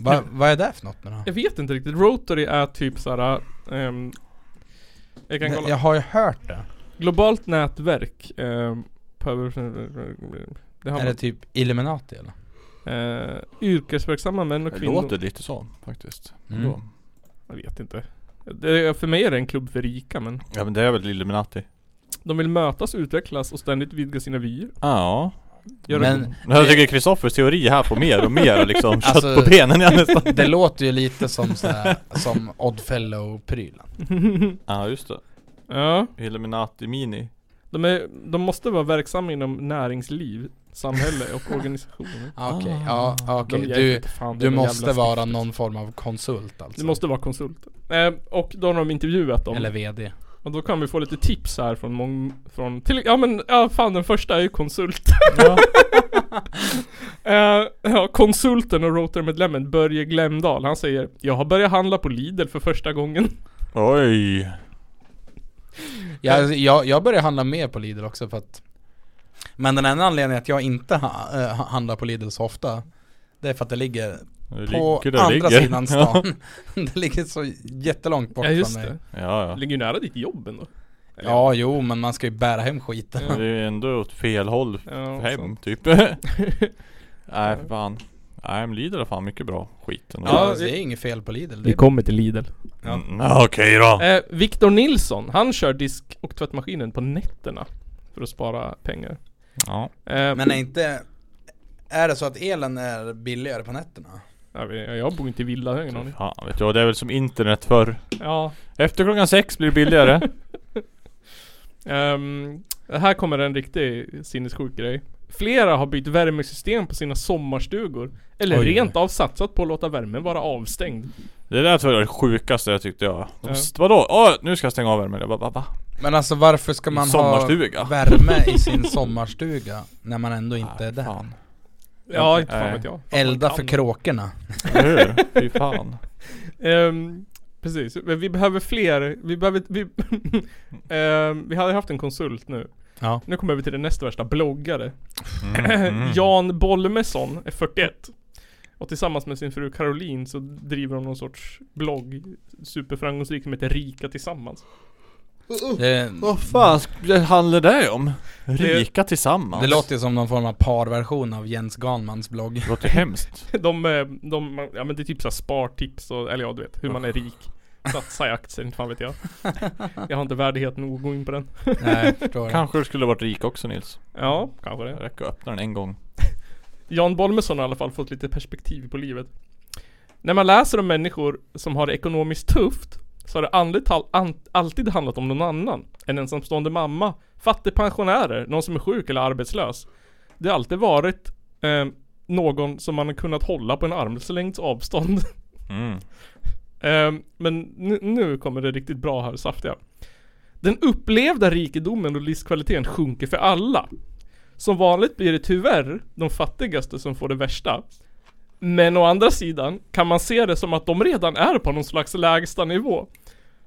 Va, Vad är det för något nu då? Jag vet inte riktigt. Rotary är typ såhär... ehm, jag kan kolla. Jag har ju hört det Globalt nätverk. ehm, på- det har Är man, det typ Illuminati eller? eh, yrkesverksamma män och Det kvinnor. låter lite så faktiskt. Mm. Då. Jag vet inte. Det, för mig är det en klubb för rika men Ja men det är väl Illuminati? de vill mötas, utvecklas och ständigt vidga sina vyer. Ja. Gör Men- det. Men jag tycker Kristoffers teori här får mer och mer <laughs> liksom kött Alltså- på benen jag nästan. Det låter ju lite som sådär, som Oddfellow-prylen Ja just det. <laughs> ja. Illuminati Mini. De, är, de måste vara verksamma inom näringsliv, samhälle <laughs> och organisationer. ah, Okej, ja ah, okej De- jag Du, vet fan, det du är någon måste jävla vara stift. någon form av konsult alltså? Du måste vara konsult. Eh, och då har de intervjuat dem. Eller VD Och då kan vi få lite tips här från mång... Från till, ja men ja, fan den första är ju konsult. <laughs> Eh, ja, konsulten och Rotor-medlemmen Börje Glemdal, han säger Jag har börjat handla på Lidl för första gången. Oj. Jag, jag, jag börjar handla mer på Lidl också för att Men den enda anledningen att jag inte ha, eh, handlar på Lidl så ofta Det är för att det ligger Det på ligger där andra ligger. sidan stan <laughs> Det ligger så jättelångt bort ja just från mig det. <laughs> Ja, ja. Ligger ju nära ditt jobb ändå. Ja jo men man ska ju bära hem skiten Det är ändå åt fel håll Ja, hem <laughs> sant. typ. <laughs> Nej för fan. Nej men Lidl är fan mycket bra skit ändå. ja, Ja, Det vi- är inget fel på Lidl Vi det, kommer till Lidl. ja. Mm, ja, Okej då. Eh, Viktor Nilsson, han kör disk och tvättmaskinen på nätterna. För att spara pengar. Ja. Eh, Men är inte Är det så att elen är billigare på nätterna? jag, vet- jag bor inte i villa, jag har ingen aning. Fan vet jag, det är väl som internet förr. Ja. Efter klockan sex blir det <laughs> billigare. ehm, här kommer en riktig sinnessjuk grej. Flera har bytt värmesystem på sina sommarstugor. Eller Oj. rent av satsat på att låta värmen vara avstängd. Det där tror jag är det sjukaste jag tyckte jag. Ja. Vadå? Åh, nu ska jag stänga av värmen. Jag bara, va, va? Men alltså varför ska man ha Sommarstuga. värme i sin sommarstuga när man ändå inte är där? Ah, Fan. Ja, inte fan Nej. vet jag. Fan, Elda man för kan. kråkorna. Eller hur? Fy <laughs> fan. Ehm, precis, men vi behöver fler. Vi behöver... Vi, <laughs> Ehm, vi hade haft en konsult nu. Ja. Nu kommer vi till den nästa värsta, bloggare. Mm. <laughs> Jan Bolmesson är 41. Och tillsammans med sin fru Caroline så driver de någon sorts blogg, superframgångsrik, som heter Rika Tillsammans. Det, Vad fan sk- handlar det om? Rika tillsammans? det låter ju som någon form av parversion av Jens Ganmans blogg. <laughs> Det låter hemskt. De, eh, de man- ja men det är typ såhär spartips och, eller ja du vet, hur man är rik. Satsa i aktier, inte fan vet jag. Jag har inte värdighet nog att gå in på den. Nej, jag förstår. Kanske du skulle ha varit rik också Nils. Ja, kanske det. Det räcker att öppna den en gång. Jan Bolmesson har i alla fall fått lite perspektiv på livet. När man läser om människor som har det ekonomiskt tufft så har det andligt tal- an- alltid handlat om någon annan. En ensamstående mamma, fattigpensionärer, någon som är sjuk eller arbetslös. Det har alltid varit eh, någon som man har kunnat hålla på en armslängds avstånd. <laughs> Mm. Ehm, men nu, nu kommer det riktigt bra här, saftiga. Den upplevda rikedomen och livskvaliteten sjunker för alla. Som vanligt blir det tyvärr de fattigaste som får det värsta. Men å andra sidan kan man se det som att de redan är på någon slags lägsta nivå.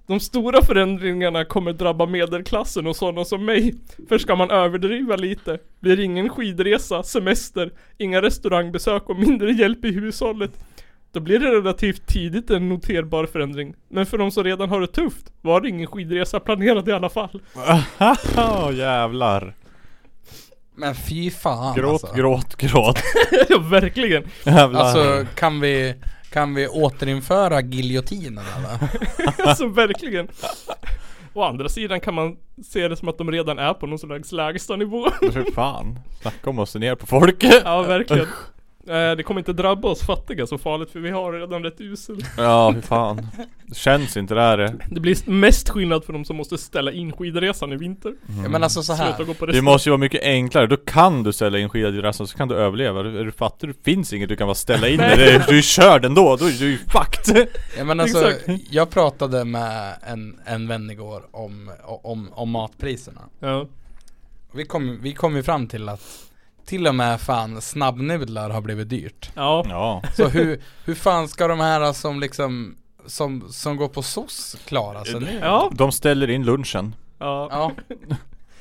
De stora förändringarna kommer drabba medelklassen och sådana som mig. För ska man överdriva lite blir det ingen skidresa, semester, inga restaurangbesök och mindre hjälp i hushållet. Då blir det relativt tidigt en noterbar förändring. Men för de som redan har det tufft var det ingen skidresa planerad i alla fall. <laughs> Oh, jävlar. Men fy fan Gråt, alltså. gråt, gråt. ja, verkligen. <laughs> Jävlar. Alltså kan vi, kan vi återinföra giljotinen eller? alltså verkligen. Å andra sidan kan man se det som att de redan är på någon slags lägsta nivå. Fy fan. Snacka om att se ner på folk. ja, verkligen. Eh, Det kommer inte drabba oss fattiga så farligt för vi har redan rätt usel. <laughs> Ja, fy fan. Det känns inte det här. det. Det blir mest skillnad för de som måste ställa in skidresan i vinter. Ja men alltså så Sluta gå här. på Det restaurang. måste ju vara mycket enklare. Då kan du ställa in skidresan så kan du överleva. Är du fattig? Det finns inget du kan bara ställa in. Nej. det. Du är ju körd ändå. Då är du ju fucked. Ja, men alltså, Exakt. jag pratade med en, en vän igår om, om, om matpriserna. Ja. Vi kom, vi kom ju fram till att till och med fan snabbnudlar har blivit dyrt. Ja. Ja. <laughs> Så hur, hur fan ska de här som liksom som, som går på SOS klara sig nu? Ja. De ställer in lunchen. ja. Ja,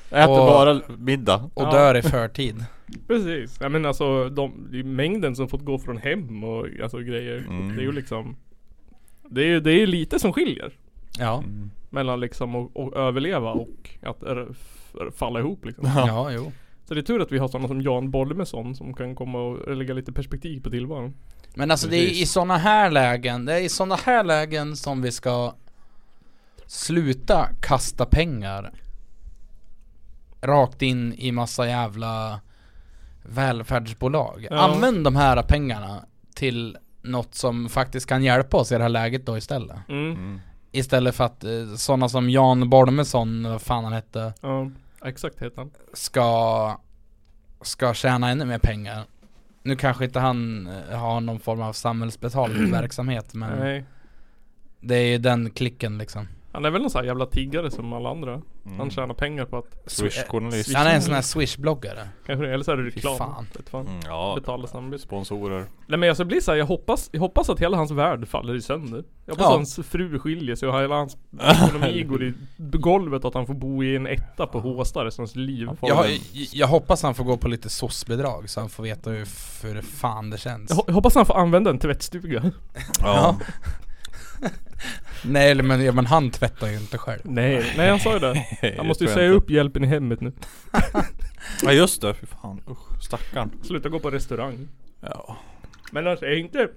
Äter Och- bara middag. och Ja. dör i förtid. Precis, ja, men alltså de, det är ju mängden som fått gå från hem och alltså, grejer. Mm. Det är ju liksom Det är ju det är ju lite som skiljer Ja, mellan liksom att att överleva och att r- f- falla ihop liksom. ja jo. Så det är tur att vi har sådana som Jan Bolmesson som kan komma och lägga lite perspektiv på tillvaron. Men alltså det är i Precis. sådana här lägen, det är i sådana här lägen som vi ska sluta kasta pengar rakt in i massa jävla välfärdsbolag. Ja. Använd de här pengarna till något som faktiskt kan hjälpa oss i det här läget då istället. Mm. Istället för att eh, sådana som Jan Bolmesson, vad fan han hette, Ja, exakt heter han. ska, ska tjäna ännu mer pengar. Nu kanske inte han eh, har någon form av samhällsbetald verksamhet men Nej. det är ju den klicken liksom. Han är väl någon sån här jävla tiggare som alla andra. Mm. Han tjänar pengar på att Swish-journalist. Eh, Han är en sån här swish-bloggare. kanske Eller så är det reklam. fan. Vet fan. Mm, ja. Betala samarbete. Sponsorer. Nej men alltså det blir såhär, jag hoppas, jag hoppas att hela hans värld faller i sönder. Jag hoppas Ja. att hans fru skiljer sig och hela <laughs> hans ekonomi går i golvet och att han får bo i en etta på Håsta resten av sitt liv. Han får- Jag, jag hoppas han får gå på lite soc-bidrag så han får veta hur, f- hur fan det känns. Jag, ho- jag hoppas han får använda en tvättstuga. <laughs> Ja. Nej eller men, ja, men han tvättar ju inte själv. Nej, nej han sa ju <laughs> det. Han måste ju tror jag säga inte. upp hjälpen i hemmet nu. Ja just det, fy fan. Usch, stackarn. Sluta gå på restaurang. Ja. Men han säger inte...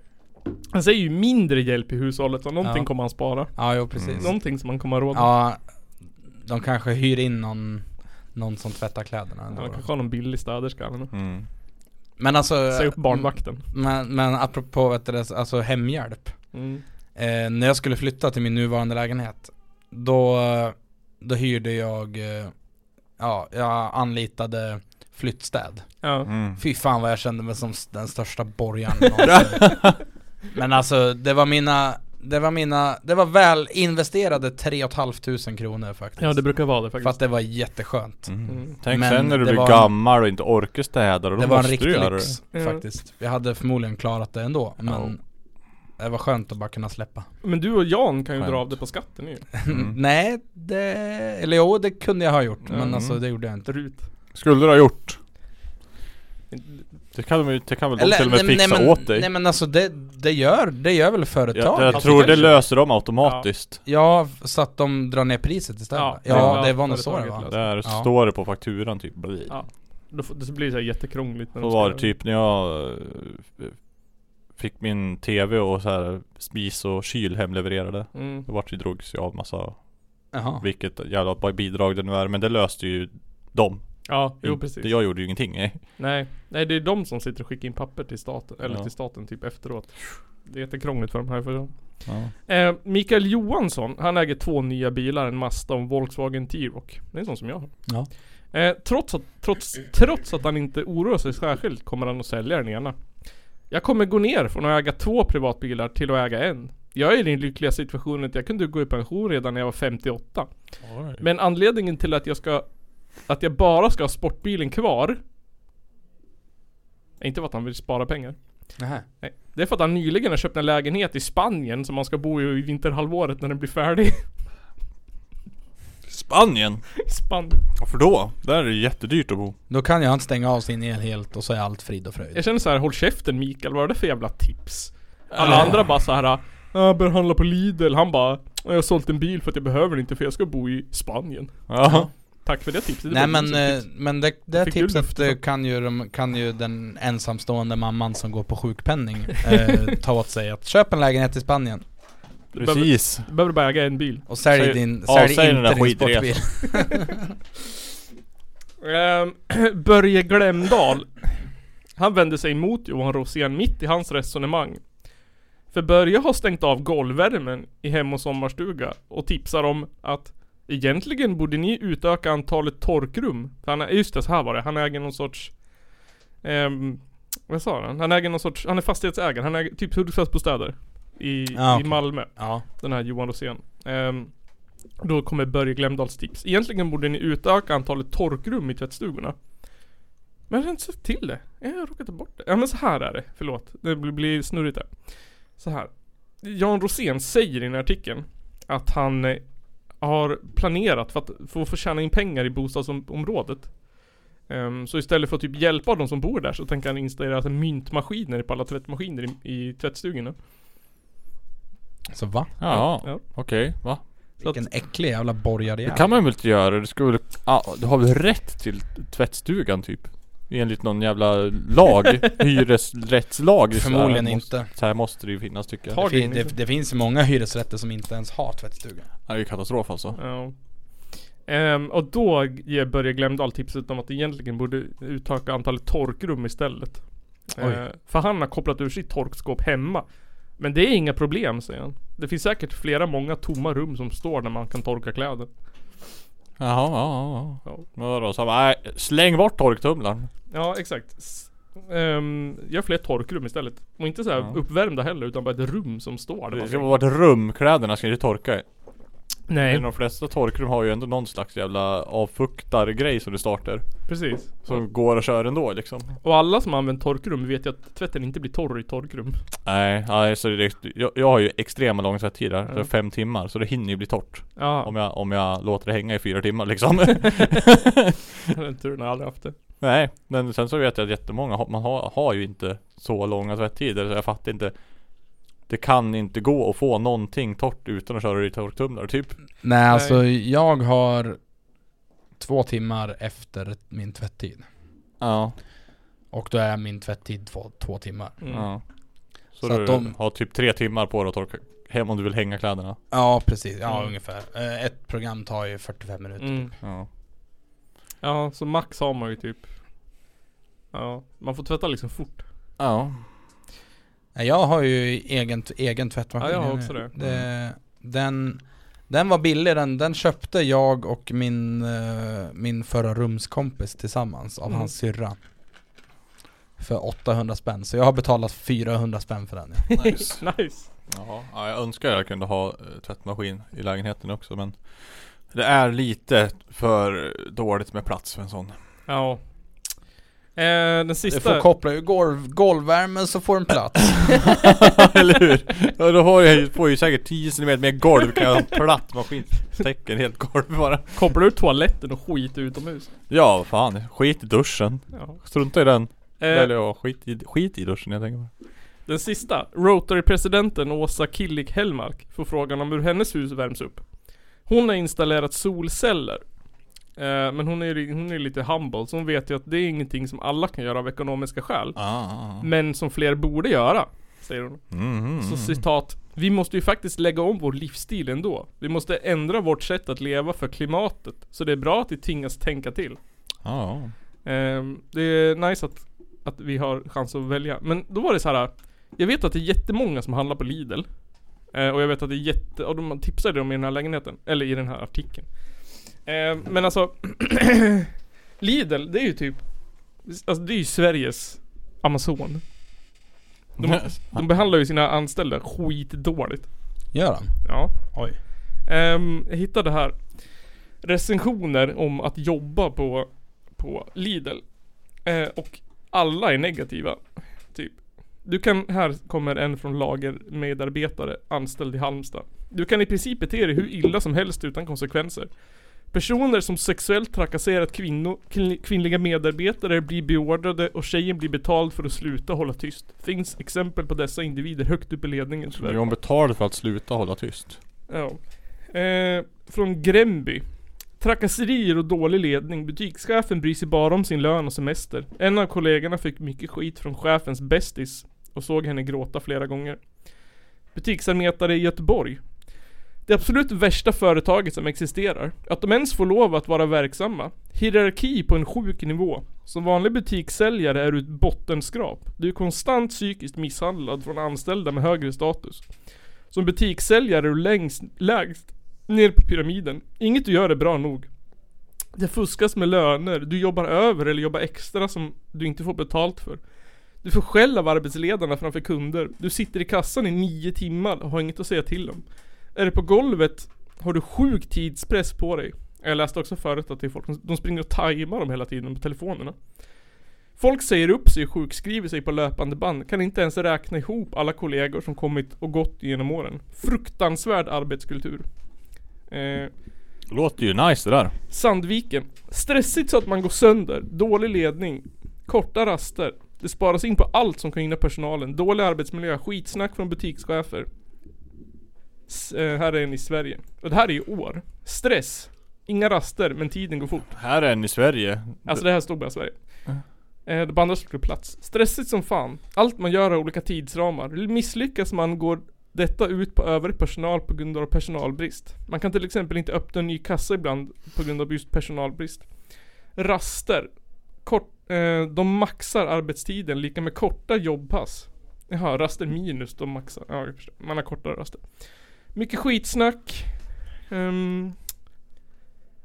Han säger ju mindre hjälp i hushållet så någonting Ja. kommer han spara. Ja jo precis. Någonting som han kommer ha råd med. Ja, de kanske hyr in någon, någon som tvättar kläderna ändå. Han då. kanske har någon billig städerska eller något. Mm. Men alltså, Säg upp barnvakten. men, men apropå vet du, det, alltså hemhjälp. Mm. Eh, när jag skulle flytta till min nuvarande lägenhet Då, då hyrde jag eh, Ja, jag anlitade flyttstäd Ja. Mm. Fy fan vad jag kände mig som s- den största borgaren någonsin Men alltså det var mina det var mina, det var väl investerade 3 500 kronor faktiskt. Ja det brukar vara det För faktiskt. att det var jätteskönt. Mm. Tänk Men sen när du det blir var- gammal och inte orkar städa då det var en måste du riktig göra det. lyx det. Ja. faktiskt. Jag hade förmodligen klarat det ändå men det var skönt att bara kunna släppa. Men du och Jan kan ju Skönt. dra av det på skatten nu. Mm. <laughs> Nej, det, eller jo det kunde jag ha gjort men Mm. alltså det gjorde jag inte. Rut. Skulle du ha gjort? Det kan, de ju- det kan väl de till och med fixa nej, men, åt dig? Nej men alltså det, det gör, det gör väl jag företaget? jag Ja, tror det kanske. löser de automatiskt. f- så att de drar ner priset istället. Ja, Ja, det det var var nog så det företaget var. löser. Där Ja. står det på fakturan typ. Bli. Ja. Då får, det blir det så här jättekrångligt. när Så de ska var det göra typ när jag eh, fick min TV och så här spis och kyl hemlevererade. Mm. Då vart ju drogs jag av massa, Jaha. vilket jävla bra bidrag det nu är. Men det löste ju de. Ja, jo Inte- precis. Jag gjorde ju ingenting. nej. Nej. Nej, det är de som sitter och skickar in papper till staten, eller Ja. till staten typ efteråt. Det är jättekrångligt för de här för Ja. eh, Mikael Johansson, han äger två nya bilar, en Mazda och en Volkswagen T-Roc. Det är en sån som jag har. Ja. Eh, trots, att, trots, trots att han inte oroar sig särskilt kommer han att sälja den ena. Jag kommer gå ner från att äga två privatbilar till att äga en. Jag är i den lyckliga situationen att jag kunde gå i pension redan när jag var 58. Men anledningen till att jag ska Att jag bara ska ha sportbilen kvar är inte för att han vill spara pengar. Nähä. Nej. Det är för att han nyligen har köpt en lägenhet i Spanien som han ska bo i i vinterhalvåret när den blir färdig. <laughs> Spanien! I Spanien. Varför då? Där är det jättedyrt att bo. Då kan jag inte stänga av sin el helt och så är allt frid och fröjd. Jag känner så här, håll käften Mikael, vad är det för jävla tips? Alla andra bara så här. Jag bör handla på Lidl. Han bara, jag har sålt en bil för att jag behöver den inte för jag ska bo i Spanien. Ja. Tack för det tipset. Det Nej var men, liksom ett eh, tips. men det, det Fick du tipset luft? eh, kan ju, de- kan ju den ensamstående mamman som går <laughs> på sjukpenning eh, ta åt sig att köp en lägenhet i Spanien Precis. Du behöver bara äga en bil. och sälj Säg- din, ja, sälj säg den inte där din skitresan. sportbil. Ehm, <clears throat> Börje Glemdal Han vände sig emot Johan Rosén mitt i hans resonemang För Börje har stängt av golvvärmen i hem och sommarstuga och tipsar om att Egentligen borde ni utöka antalet torkrum För han är, just det, så här var det, han äger någon sorts ehm, Vad sa han? Han äger någon sorts, han är fastighetsägare, han äger typ Hudiksvallsbostäder i, Ja, i okej. Malmö Ja, den här Johan Rosén. Ehm, då kommer Börje Glemdahls tips. Egentligen borde ni utöka antalet torkrum i tvättstugorna. Men jag har inte sett till det. Jag har råkat ta bort det. Ja men så här är det. Förlåt. Det blir- blir snurrigt där. Så här. Jan Rosén säger i den här artikeln att han eh, har planerat för att få, få tjäna in pengar i bostadsområdet. Ehm, så istället för att typ hjälpa de som bor där så tänker han installera alltså, myntmaskiner på alla tvättmaskiner i, i tvättstugorna. så va? Ja, Ja. okej. Va? Så att- Vilken äcklig jävla borgare Det jag är. kan man väl inte göra? Du, skulle, ah, du har väl rätt till tvättstugan typ? Enligt någon jävla <laughs> lag? Hyresrättslag? Så här Förmodligen måste- inte. Så här måste det ju finnas tycker jag. Ta- Det Det, fin- det, det finns ju många hyresrätter som inte ens har tvättstuga. här är ju katastrof alltså. Ja. Ehm, och då ger Börje Glemdahl tipset om att egentligen borde utöka antalet torkrum istället. Oj. Eh, för han har kopplat ur sitt torkskåp hemma. Men det är inga problem säger han. Det finns säkert flera många tomma rum som står där man kan torka kläder. Jaha, ja, ja. Ja. Men vadå? Så han bara, nej, släng bort torktumlaren. Ja exakt. S- ehm, gör fler torkrum istället. Och inte så här Ja. uppvärmda heller utan bara ett rum som står där. Det man ska kan- vara ett rum, kläderna ska ju torka i. Men Nej, de flesta torkrum har ju ändå någon slags jävla avfuktargrej som du startar. precis. Som går att köra ändå liksom. Och alla som har använt torkrum vet ju att tvätten inte blir torr i torkrum. Nej, nej så det, jag, jag har ju extrema långa tvättider, Ja. så fem timmar, så det hinner ju bli torrt. Ja, Om, jag, om jag låter det hänga i fyra timmar <laughs> liksom. <laughs> den turen har jag aldrig haft det. nej, men sen så vet jag att jättemånga, har- man har, har ju inte så långa tvättider, så jag fattar inte. Det kan inte gå att få någonting torrt utan att köra det i torktumlare typ. Nej, alltså jag har två timmar efter min tvätttid. Ja. Och då är min tvätttid två, två timmar. Mm. ja. Så, Så att du de- har typ tre timmar på dig att torka hem om du vill hänga kläderna. Ja, precis. Ja, Mm. ungefär. Eh, Ett program tar ju 45 minuter. Mm. Ja. Ja, så max har man ju typ Ja, man får tvätta liksom fort Ja. Nej, Jag har ju egen, egen tvättmaskin. Ja, jag har också det. Mm. den, den var billig, den, den köpte jag och min, eh, min förra rumskompis tillsammans av Mm. hans syrra. För 800 spänn, så jag har betalat 400 spänn för den. Nice. Nice! Ja, ja, jag önskar jag kunde ha eh, tvättmaskin i lägenheten också men Det är lite för dåligt med plats för en sån <laughs> Ja. Eh, den Du sista... får koppla ur golv, golvvärmen så får en plats. <laughs> Eller hur? Ja, då har jag, ju- får jag ju säkert 10 cm mer golv kan jag ha en platt maskin Täcker en helt golv bara Kopplar du toaletten och skit utomhus? Ja, vad fan, skit i duschen Ja. Strunta i den Eh, Eller ja, skit i, skit i duschen jag tänker på den sista, Rotary-presidenten Åsa Killik Hellmark får frågan om hur hennes hus värms upp. Hon har installerat solceller. Eh, men hon är ju hon är lite humble, så hon vet ju att det är ingenting som alla kan göra av ekonomiska skäl. ah. Men som fler borde göra, säger hon. mm Så citat Vi måste ju faktiskt lägga om vår livsstil ändå. Vi måste ändra vårt sätt att leva för klimatet. Så det är bra att vi tvingas tänka till. Ja, Ehm, det är nice att, att vi har chans att välja. Men då var det så här. Jag vet att det är jättemånga som handlar på Lidl. Eh, och jag vet att det är jätte... Och de tipsade om i den här lägenheten. Eller i den här artikeln. Ehm, men alltså... <clears throat> Lidl, det är ju typ... Alltså det är ju Sveriges Amazon. De, <laughs> de behandlar ju sina anställda skitdåligt. Gör han? Ja. Oj. Ehm, jag hittade här recensioner om att jobba på, på Lidl. Eh, och alla är negativa. Typ. Du kan, här kommer en från lagermedarbetare anställd i Halmstad. Du kan i princip bete dig hur illa som helst utan konsekvenser. Personer som sexuellt trakasserat kvinno, kvin- kvinnliga medarbetare blir beordrade och tjejen blir betald för att sluta hålla tyst. Finns exempel på dessa individer högt upp i ledningen Så blir hon betald för att sluta hålla tyst Ja. Eh, från Gränby. Trakasserier och dålig ledning. Butikschefen bryr sig bara om sin lön och semester. En av kollegorna fick mycket skit från chefens bästis och såg henne gråta flera gånger. Butiksarbetare i Göteborg. Det absolut värsta företaget som existerar. Att de ens får lov att vara verksamma. Hierarki på en sjuk nivå. Som vanlig butikssäljare är du ett bottenskrap. Du är konstant psykiskt misshandlad från anställda med högre status. Som butikssäljare är du längst, lägst ner på pyramiden. Inget du gör är bra nog. Det fuskas med löner, du jobbar över eller jobbar extra som du inte får betalt för. Du får skäll av arbetsledarna framför kunder. Du sitter i kassan i nio timmar och har inget att säga till om. Är du på golvet har du sjuk tidspress på dig. Jag läste också förut att det är folk som de springer och tajmar dem hela tiden på telefonerna. Folk säger upp sig och sjukskriver sig på löpande band. Kan inte ens räkna ihop alla kollegor som kommit och gått genom åren. Fruktansvärd arbetskultur. Eh, Låter ju nice det där Sandviken. Stressigt så att man går sönder. Dålig ledning. Korta raster. Det sparas in på allt som kan gynna personalen. Dålig arbetsmiljö. Skitsnack från butikschefer. S- eh, här är en i Sverige. Och det här är i år. Stress. Inga raster, men tiden går fort. Här är en i Sverige Alltså det här stod bara Sverige. Eh, det på andra skulle plats. Stressigt som fan. Allt man gör har olika tidsramar. Misslyckas man går detta ut på övrig personal på grund av personalbrist. Man kan till exempel inte öppna en ny kassa ibland på grund av just personalbrist. Raster. Kort, eh, de maxar arbetstiden lika med korta jobbpass. Jaha, raster minus de maxar. Ja, jag förstår. Man har kortare raster. Mycket skitsnack. Ehm,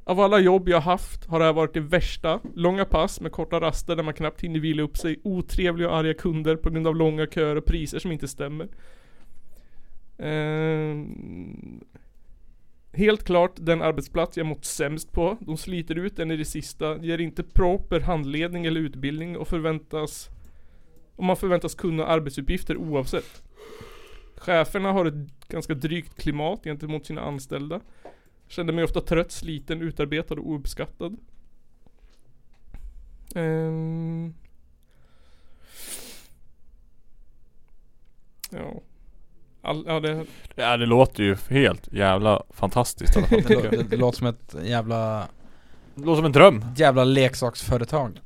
av alla jobb jag haft har det här varit det värsta. Långa pass med korta raster där man knappt hinner vila upp sig. Otrevliga och arga kunder på grund av långa köer och priser som inte stämmer. Ehm, helt klart den arbetsplats jag mått sämst på. De sliter ut en i det sista, ger inte proper handledning eller utbildning och förväntas och man förväntas kunna arbetsuppgifter oavsett. Cheferna har ett ganska drygt klimat gentemot sina anställda. Kände mig ofta trött, sliten, utarbetad och ouppskattad. Ehm. Ja. All, ja, det, Ja det låter ju helt jävla <laughs> fantastiskt i alla fall. Det, lå- det, det låter som ett jävla, Det låter som <laughs> en dröm jävla leksaksföretag.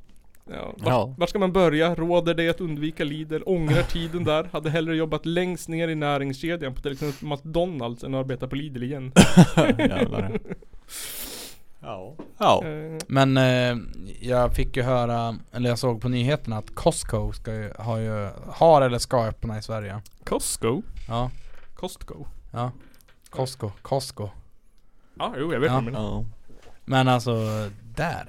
ja. Vart, Ja. vart ska man börja? Råder det att undvika Lidl? <laughs> Ångrar tiden där? Hade hellre jobbat längst ner i näringskedjan på till exempel McDonalds än att arbeta på Lidl igen. Jävlar Ja Ja Ehm, Men eh, jag fick ju höra, eller jag såg på nyheterna att Costco ska ju, har, ju, har eller ska öppna i Sverige. Costco? Ja, Costco? ja. Costco, Costco. Ja, jo jag vet Ja. vad du menar. Ja Men alltså där,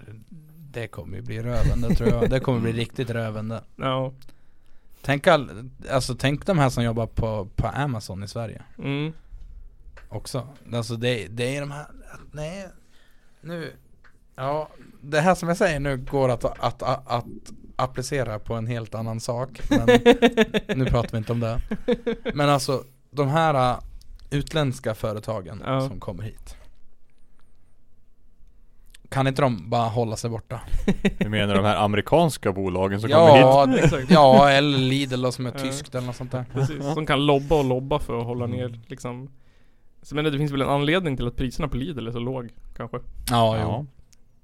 det kommer ju bli rövande tror jag. Det kommer bli riktigt rövande. Ja. Tänk, all, alltså, tänk de här som jobbar på, på Amazon i Sverige Mm. också. Alltså det, det är de här, nej, nu, ja, det här som jag säger nu går att, att, att, att, applicera på en helt annan sak. <laughs> Men nu pratar vi inte om det. Men alltså de här äh, utländska företagen Ja. som kommer hit. Kan inte de bara hålla sig borta? Du menar de här amerikanska bolagen som kommer hit? Ja, det- Exakt. ja, eller Lidl då, som är Ja. tyskt eller något sånt där. Precis, som kan lobba och lobba för att Mm. hålla ner liksom Så men det finns väl en anledning till att priserna på Lidl är så låg kanske Ja, Ja, jo.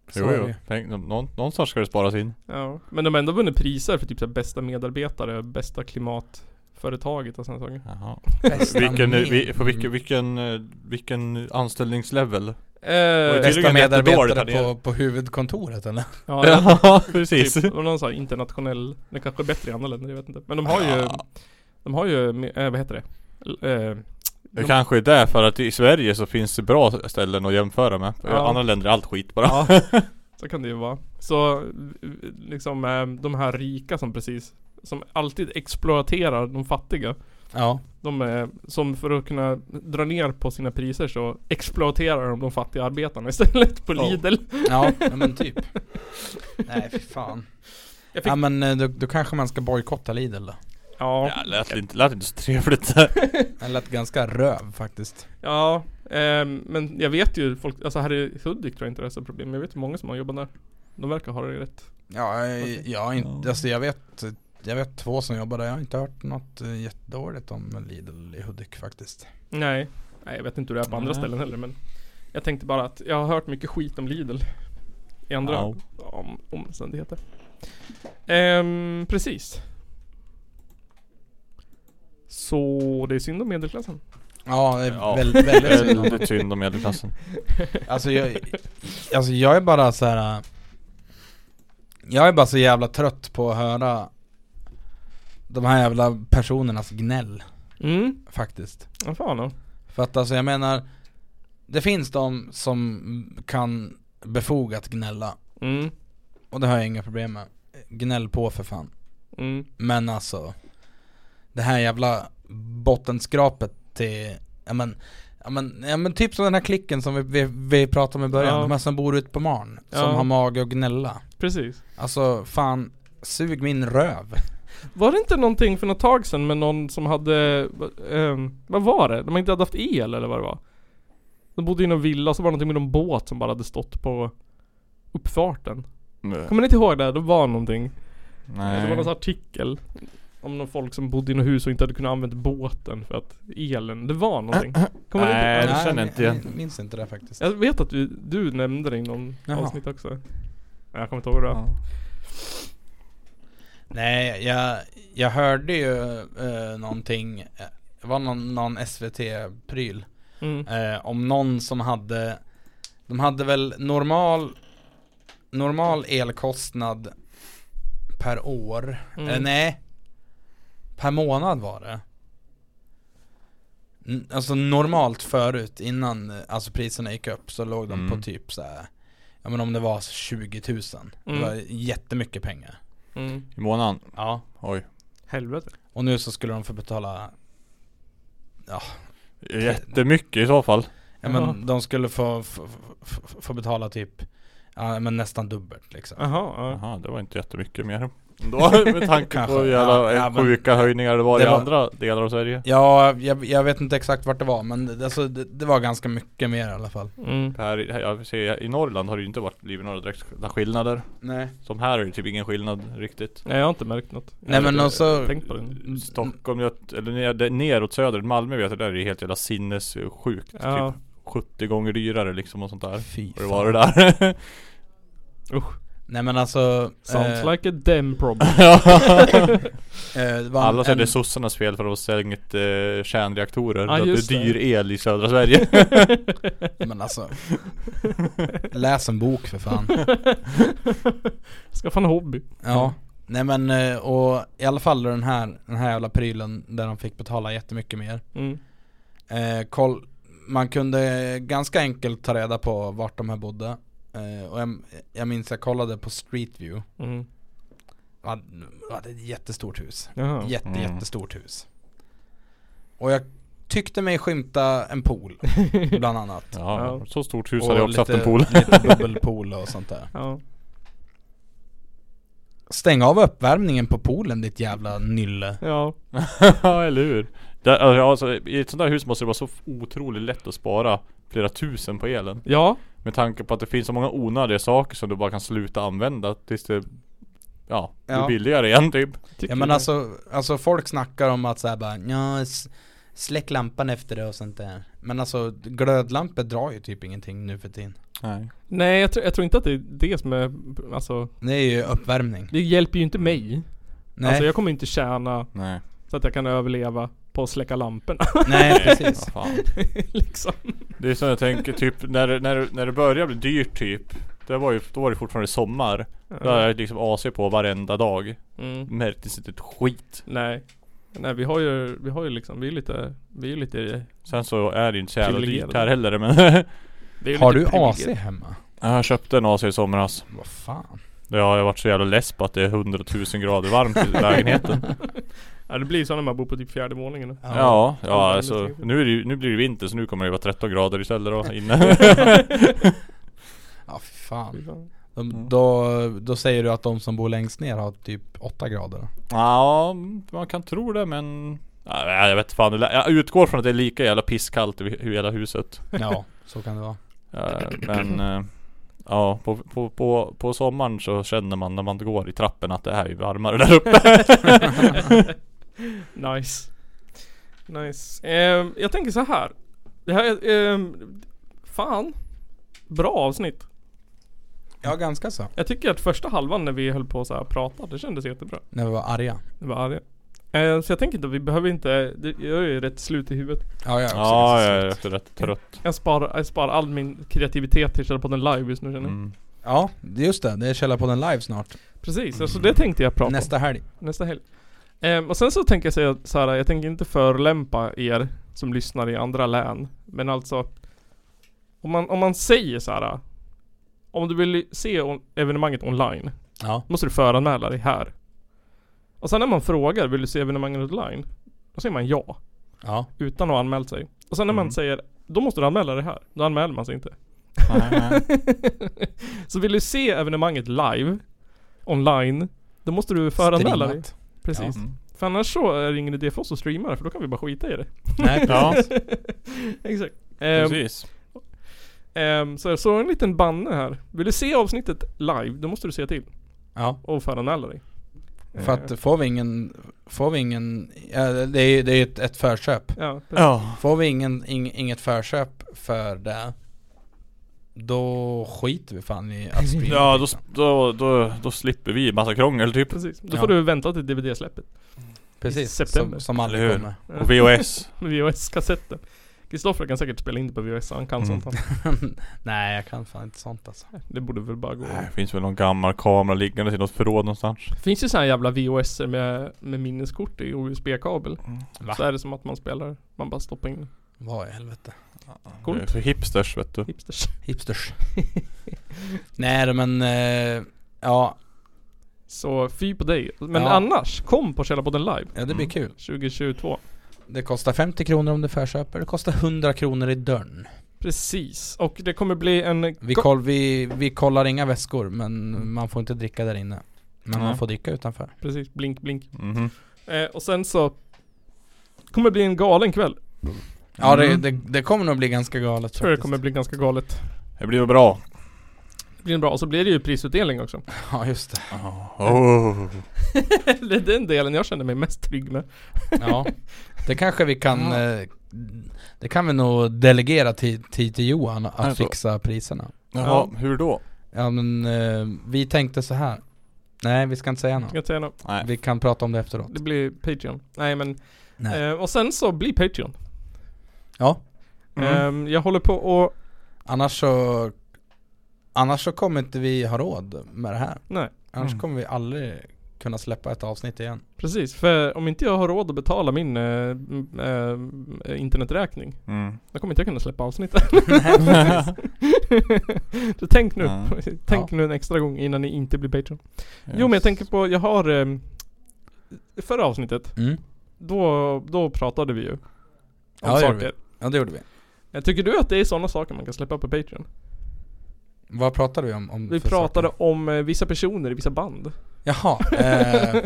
jo, Så är det jo. ju. Tänk, nå- nå- någonstans ska det sparas in. Ja, men de har ändå vunnit priser för typ så här, bästa medarbetare, bästa klimatföretaget och sådana saker Jaha. Bästa Vilken, med- vi, på vilken, vilken, eh, vilken anställningslevel? eh, det är Bästa tydligen jättedåligt här medarbetare nere. på, på huvudkontoret eller? Ja, jag- <laughs> Ja, precis. typ, om någon sa internationell, det kanske är bättre i andra länder, jag vet inte Men de har ju, de har ju, eh, vad heter det? L- Eh, Det de- kanske är därför att i Sverige så finns det bra ställen att jämföra med. I Ja. andra länder är allt skit bara. <laughs> Ja, så kan det ju vara. Så eh, liksom eh, de här rika som precis, som alltid exploaterar de fattiga. Ja, De är, som för att kunna dra ner på sina priser så exploaterar de de fattiga arbetarna istället på Oh. Lidl. ja <laughs> ja, men typ. Nej fy fan. Jag fick- Ja men eh, då, då kanske man ska bojkotta Lidl då. Ja, Ja, lät, inte, lät inte så trevligt. Den lät ganska röv faktiskt. ja eh, men jag vet ju folk, alltså här i Hudik tror jag inte det är så problem. Jag vet ju många som har jobbat där. De verkar ha det rätt. Ja, eh, Okej. jag, inte, Ja. alltså, jag vet jag vet två som jobbar där, jag har inte hört något eh, jättedåligt om Lidl i Hudik faktiskt. Nej, nej jag vet inte hur det är på andra Nej. ställen heller men jag tänkte bara att jag har hört mycket skit om Lidl i andra Ja. om, omständigheter. Ehm, precis. Så det är synd om medelklassen. Ja, det är Ja. Väl, väldigt <laughs> synd om Väldigt synd om medelklassen. Alltså jag, alltså jag är bara så här. äh, Jag är bara så jävla trött på att höra de här jävla personernas gnäll Mm, faktiskt. vad fan då. För att alltså jag menar, det finns de som kan befogat gnälla Mm, och det har jag inga problem med. Gnäll på för fan. mm, Men alltså Det här jävla bottenskrapet till, ja men Ja men, ja, men typ som den här klicken som vi, vi, vi pratade om i början, Ja. de här som bor ute på Marn Som Ja. har mage att gnälla precis. Alltså fan, sug min röv Var det inte någonting för något tag sedan med någon som hade, ehm, vad var det? De inte hade haft el eller vad det var? De bodde i någon villa så var det någonting med någon båt som bara hade stått på uppfarten. Kommer ni inte ihåg det? Det var någonting. Det var Nej. någon sån artikel om någon folk som bodde i något hus och inte hade kunnat använda båten för att elen, det var någonting. Äh, Kommer ni Nej, inte ihåg det det? känner jag inte igen. Jag minns inte det faktiskt Jag vet att du, du nämnde det i någon Jaha. avsnitt också. Nej, Jag kommer inte ihåg det. var. Nej, jag, jag hörde ju eh, någonting eh, Det var någon, någon SVT-pryl Mm. eh, Om någon som hade De hade väl normal Normal elkostnad Per år Mm. eh, Nej Per månad var det N- Alltså normalt förut innan eh, Alltså priserna gick upp så låg de Mm. på typ så här. Ja men om det var 20 000 Det Mm. var jättemycket pengar Mm. I månaden? Ja Oj. Helvete. Och nu så skulle de få betala Jättemycket i så fall. Ja men Jaha. de skulle få, få, få, få betala typ Ja men nästan dubbelt liksom Jaha, ja. Jaha, det var inte jättemycket <laughs> mer. Då, med tanke på Kanske. hur Ja, jävla ja, men- sjuka höjningar det var Det i var- andra delar av Sverige. Ja, jag, jag vet inte exakt vart det var men det- alltså, det, det var ganska mycket mer i alla fall Mm. Här, i- här, jag ser, I Norrland har det ju inte varit blivit några direkta skillnader. Nej Som här är det typ ingen skillnad riktigt. Nej jag har inte märkt något. Nej men inte- alltså Tänk på det. Typ Stockholm, jag- eller ner- det- neråt söder, Malmö vet jag, där är det helt jävla sinnessjukt. Ja. Typ 70 gånger dyrare liksom och sånt där. Fy Och det fan. var det där. <laughs> Nej men alltså Sounds eh, like a damn problem. <laughs> eh, det var Alla säger en, det är sossarnas fel för att de har stängt eh, kärnreaktorer. Ja, så att det just är dyr det. el i södra Sverige. <laughs> Men alltså Läs en bok <laughs> för fan Skaffa en hobby. Ja Nej men eh, och i alla fall den här, den här jävla prylen där de fick betala jättemycket mer Mm. Eh, koll, man kunde ganska enkelt ta reda på vart de här bodde. Eh, och jag, jag minns jag kollade på Street View Mm. De hade, de hade ett jättestort hus. Jaha. Jätte, Mm. jättestort hus. Och jag tyckte mig skymta <laughs> en pool, bland annat. Ja, Ja. så stort hus Och hade jag också haft lite- en pool. <laughs> lite bubbelpool och sånt där. Ja. Stäng av uppvärmningen på poolen ditt jävla nylle. Ja. Ja, eller hur? Där, alltså, I ett sånt där hus måste det vara så otroligt lätt att spara flera tusen på elen. Ja. Med tanke på att det finns så många onödiga saker som du bara kan sluta använda tills det Ja, blir Ja. billigare igen typ Ja men alltså, alltså folk snackar om att såhär bara ja, s- släck lampan efter det och sånt där. Men alltså glödlampor drar ju typ ingenting nu för tiden. Nej Nej jag, tror- jag tror inte att det är det som är, alltså Det är ju uppvärmning. Det hjälper ju inte mig. Nej, Alltså jag kommer inte tjäna Nej så att jag kan överleva på att släcka <laughs> lamporna. nej precis. Vad fan. liksom. Det är som jag tänker typ när, det- när, det- när det börjar bli dyrt typ det var ju, Då var det fortfarande sommar Då hade jag liksom AC på varenda dag <laughs> Mm. Märktes inte ett skit Nej. Nej vi har ju, vi har ju liksom, vi är lite, vi är lite Sen så är det ju inte så jävla dyrt Privilegierad. här heller men <laughs> vi är ju Har lite du <laughs> AC privilegierade. hemma? Jag köpte en AC i somras Vad fan? Ja, jag har varit så jävla less på att det är 100 000 grader varmt <laughs> i lägenheten Ja det blir ju så när man bor på typ fjärde våningen. Ja, ja Ja, alltså det- nu, är det ju, nu blir det vinter så nu kommer det vara 13 grader istället <laughs> då inne Ja fy fan. Mm. De, då, då säger du att de som bor längst ner har typ 8 grader då? Ja, man kan tro det men Ja, nej, jag vet fan, jag utgår från att det är lika jävla pisskallt i hu- hela huset Ja, så kan det vara. Eh, Men eh, Ja, på, på, på, på sommaren så känner man när man går i trappen att det är ju varmare där uppe nice. Nice. Ehm, jag tänker så här. Det här är, ehm, fan. Bra avsnitt. Ja ganska så. Jag tycker att första halvan när vi höll på så här och pratade, det kändes jättebra. När vi var arga. Det var arga. Eh, så jag tänker inte, vi behöver inte, det, jag är ju rätt slut i huvudet. Ja jag är <laughs> också Ja, jag <laughs> ganska är slut. också rätt trött Jag sparar, jag sparar all min kreativitet till Källarpodden live just nu känner jag. mm. ja just det. Det är Källarpodden live snart. Precis, alltså det tänkte jag prata Nästa helg. om. Nästa helg. Ehm, och sen så tänker jag säga så här, jag tänker inte förlämpa er som lyssnar i andra län. Men alltså, om man, om man säger så här. Om du vill se on- evenemanget online, Ja. måste du föranmäla dig här. Och sen när man frågar, vill du se evenemanget online? Då säger man ja. Ja. utan att ha anmält sig. Och sen när man Mm. säger, då måste du anmäla det här. Då anmäler man sig inte. <laughs> så vill du se evenemanget live, online, då måste du föranmäla dig. Streamat. Precis. Mm. För annars så är det ingen idé för oss att streama det, för då kan vi bara skita i det. Nej Ja, Exakt. Ehm, precis ehm, så jag såg en liten banne här. Vill du se avsnittet live, då måste du se till Ja, och föranmäla dig. för Eh, att får vi ingen, får vi ingen, ja, det är ju det är ju ett, ett förköp. Ja, <laughs> precis. Ja, Får vi ingen, ing, inget förköp för det, då skiter vi fan i att streama. ja då, då, då, då slipper vi massa krångel typ precis. Då Ja. får du vänta till <laughs> DVD-släppet. i Precis, september. som, som aldrig Eller hur? kommer. <laughs> Och VHS Med VHS-kassetten. Kristoffer kan säkert spela in det på VHS, han kan Mm. sånt han. Nej jag kan fan inte sånt alltså. Det borde väl bara gå. Nej, Det finns väl någon gammal kamera liggandes i något förråd någonstans finns ju såna här jävla VHS med, med minneskort i USB-kabel. Mm. Så är det som att man spelar, man bara stoppar in Vad i helvete. Coolt. Det är För hipsters vet du hipsters. <laughs> <laughs> Hipsters. Nej men, eh, ja, Så fy på dig. Men Ja. annars, kom på Källarpodden live ja det blir Mm. kul. 2022. Det kostar 50 kronor om du förköper, det kostar 100 kronor i dörren. Precis. Och det kommer bli en... Vi, go- koll, vi, vi kollar inga väskor men man får inte dricka där inne. Men Nej. man får dricka utanför. Precis, blink blink. Mhm. Eh, och sen så... Kommer bli en galen kväll. Ja Mm. det, det, det kommer nog bli ganska galet Tror jag det faktiskt. kommer bli ganska galet. Det blir väl bra Det blir en bra. Och så blir det ju prisutdelning också. <laughs> <laughs> Ja just det. oh. det är den delen jag känner mig mest trygg med. Ja. Det kanske vi kan, eh, det kan vi nog delegera till, till, till Johan att Alltså. fixa priserna. Jaha, hur då? Ja men eh, vi tänkte så här. Nej vi ska inte säga Jag något. kan säga något. Nej Vi kan prata om det efteråt. Det blir Patreon. Nej men... Nej. Eh, och sen så blir Patreon. Ja. Mm. Ehm, jag håller på och... Annars så, annars så kommer inte vi ha råd med det här. Nej. Annars Mm. kommer vi aldrig kunna släppa ett avsnitt igen. Precis, för om inte jag har råd att betala min eh, m- eh, interneträkning <laughs> Mm. Då kommer inte jag kunna släppa avsnittet. <laughs> <laughs> så tänk nu. Ja. <laughs> Tänk nu en extra gång innan ni inte blir Patreon. Jo men jag tänker på, jag har ehm, Förra avsnittet, Mm. då, då pratade vi ju om Ja, det gjorde saker. Ja det gjorde vi. Jag Tycker du att det är sådana saker man kan släppa på Patreon? Vad pratade vi om? om Vi Mm, för pratade saker? om eh, vissa personer i vissa band. <laughs> Jaha, eh,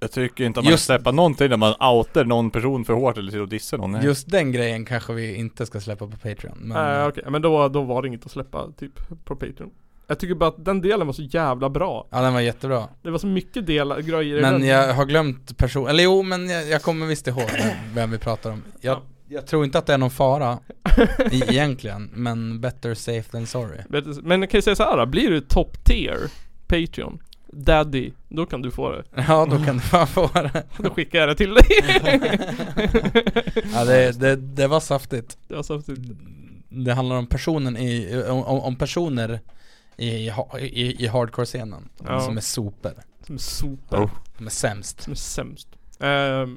Jag tycker inte att man Just- ska släppa någonting där man outar någon person för hårt eller till att dissa någon. Nej. just den grejen kanske vi inte ska släppa på Patreon. Men, Nej Eh, okej, men då, då var det inget att släppa typ på Patreon. Jag tycker bara att den delen var så jävla bra. Ja den var jättebra. Det var så mycket delar, grejer i Men den. jag har glömt person, eller jo men jag, jag kommer visst ihåg <laughs> vem- vem vi pratar om. Jag, Ja. jag tror inte att det är <laughs> någon fara e- egentligen, men better safe <laughs> than sorry. Vet- Men jag kan ju säga så här, då, blir du top tier Patreon Daddy, då kan du få det. Ja då kan du fan få det. Då skickar jag det till <laughs> dig. Ja det, det, det var saftigt. Det var så typ häftigt. Det handlar om personen i, om, om- om personer i, ha- i, i hardcore-scenen Ja. som är sopor, som är super, Oh. som är sämst. som är sämst. Uh,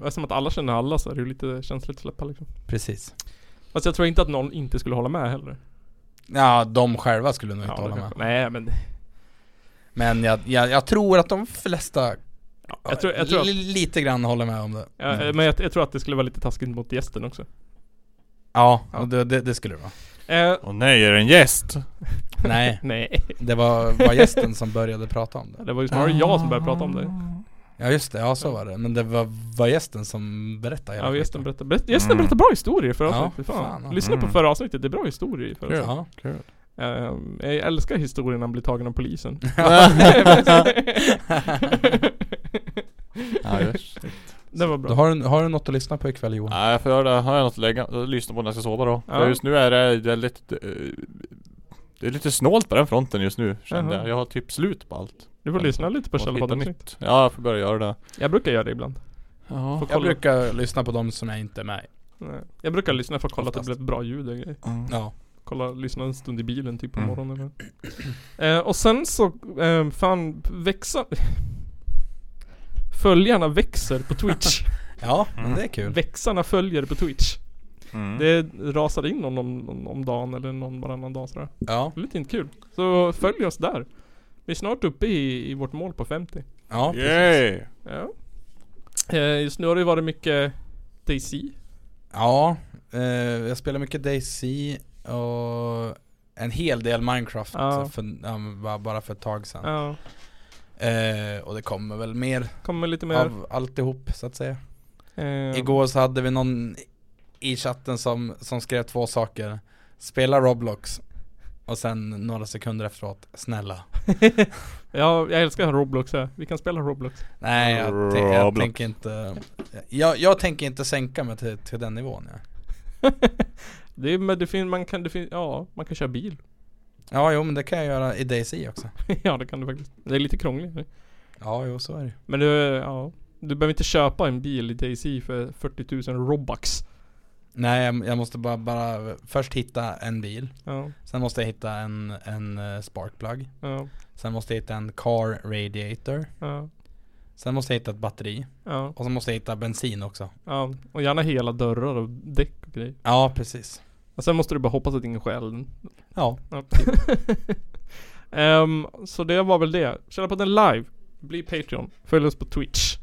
eftersom att alla känner alla så är det ju lite känsligt att släppa liksom. Precis. Fast jag tror inte att någon inte skulle hålla med heller. Ja, de själva skulle nog Ja, inte det hålla med. kanske- Nej men, Men jag, jag, jag tror att de flesta ja, jag tror, jag tror att, li- lite grann håller med om det. ja, eh, men jag, jag tror att det skulle vara lite taskigt mot gästen också. Ja, och det, det, det skulle det vara. Eh, Och nej, är det en gäst? Nej, nej, <laughs> det var, var gästen som började prata om det. det var ju snarare jag som började prata om Ah. det. Ja just det, ja så var det. Men det var, var gästen som berättade hela Ja, gästen skiten. berättar, berätt, gästen Mm. berättar bra historier för Ja, avsnittet. fan. fan, ja. Lyssna på Mm. förra avsnittet, det är bra historier i förra avsnittet. <laughs> Ja. Kul. Ehm, jag älskar historien när han blir tagen av <laughs> polisen. <laughs> Ah. Ja, just. <laughs> det var bra. Då har, du, har du något att lyssna på ikväll Johan? Nej, för det har jag något att lägga, att lyssna på när jag ska sova då. Ja. För just nu är det väldigt... eh, Det är lite snålt på den fronten just nu, kände Jaha. jag. Jag har typ slut på allt. Du får lyssna lite på Måste hitta Källarpodden. nytt. Ja, jag får börja göra det. Jag brukar göra det ibland. Ja. Får Jag kolla. brukar lyssna på de som jag inte är med i. Nej. Jag brukar lyssna för att kolla att det Oftast. blev bra ljud och grejer. Ja. Kolla, lyssna en stund i bilen typ på Mm. morgonen eller. eh, Och sen så, eh, fan, växa... Följarna växer på Twitch. Ja, Mm. men det är kul. Växarna följer på Twitch. Mm. Det rasar in någon om, om, om dagen eller någon varannan dag sådär. Ja, Det är lite inte kul. Så följ oss där. Vi är snart uppe i, i vårt mål på 50. ja. Yay! Ja. Eh, just nu har det varit mycket DayZ. ja eh, jag spelar mycket DayZ och en hel del Minecraft Ja. för, ja, men ba- bara för ett tag sedan. Ja. Eh, och det kommer väl mer Kommer lite mer. av alltihop så att säga. eh, Igår så hade vi någon i chatten som, som skrev två saker Spela Roblox Och sen några sekunder efteråt, snälla Ja, jag älskar Roblox här. Vi kan spela Roblox. Nej jag, tän- jag Roblox. tänker inte jag, jag tänker inte sänka mig till, till den nivån ja. Det är, men det fin, man kan, det fin, ja, man kan köra bil. <laughs> ja jo men det kan jag göra i DayZ också ja, det kan du faktiskt. Det är lite krångligt. Ja jo så är det ju. Men du, ja. Du behöver inte köpa en bil i DayZ för 40 000 Robux. Nej jag, jag måste bara, bara först hitta en bil Ja, Sen måste jag hitta en, en eh, sparkplug ja, Sen måste jag hitta en car radiator ja, Sen måste jag hitta ett batteri ja, Och sen måste jag hitta bensin också ja. Och gärna hela dörrar och däck och grejer. Ja precis Och sen måste du bara hoppas att ingen stjäl den. Ja Ja, typ. <laughs> Ehm, så det var väl det. Källa på den live. Bli Patreon. Följ oss på Twitch.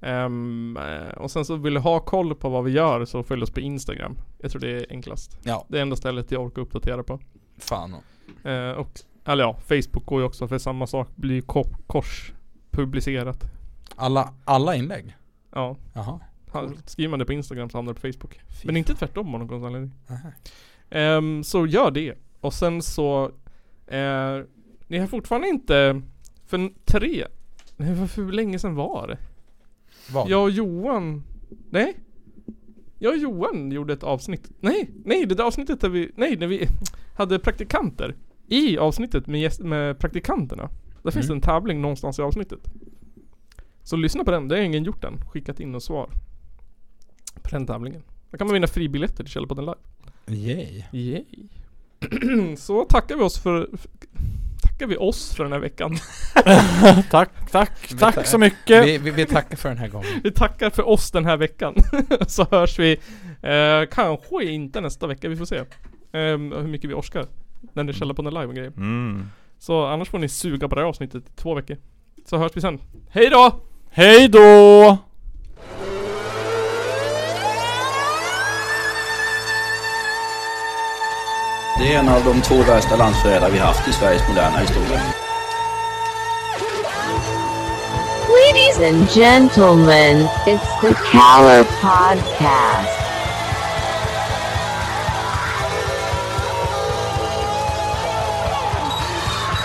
Ehm, eh, och sen så vill du ha koll på vad vi gör så följ oss på Instagram. Jag tror det är enklast. Ja. Det är enda stället jag orkar uppdatera på. Fan Eh, och, eller ja, Facebook går ju också för samma sak. Blir ko- kors publicerat. Alla, alla inlägg? Ja. Jaha ha- Skriver man det på Instagram så hamnar det på Facebook. Fy Men inte tvärtom av någon konstig anledning. Aha. Ehm, så gör det. Och sen så, eh, ni har fortfarande inte, för n- tre, <laughs> nej varför, hur länge sedan var det? Vad? Jag och Johan, nej? Jag och Johan gjorde ett avsnitt, nej, nej det där avsnittet där vi, nej när vi <laughs> hade praktikanter. I avsnittet med, gäst, med praktikanterna, där finns det Mm. en tävling någonstans i avsnittet. Så lyssna på den, det har ingen gjort än. Skickat in och svar. På den tävlingen. Där kan man vinna fribiljetter till Källarpodden live. <clears throat> Yay Yay. Så tackar vi oss för... för- Tackar tackar vi oss för den här veckan. <laughs> Tack, tack, Vi tack tack- så mycket! Vi, vi, vi tackar för den här gången. Vi tackar för oss den här veckan. <laughs> Så hörs vi eh, kanske inte nästa vecka, vi får se. Ehm, hur mycket vi orskar. När det är Källarpodden live och grejer. Mm. Så annars får ni suga på det här avsnittet i två veckor. Så hörs vi sen. Hej då! Hej då! Det är en av de två värsta landsförrädare vi haft i Sveriges moderna historia. Ladies and gentlemen, it's the Caller Podcast.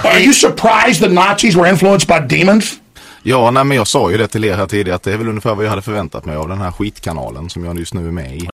Are you surprised the Nazis were influenced by demons? Ja, nej, men jag sa ju det till er här tidigare att det är väl ungefär vad jag hade förväntat mig av den här skitkanalen som jag just nu är med i.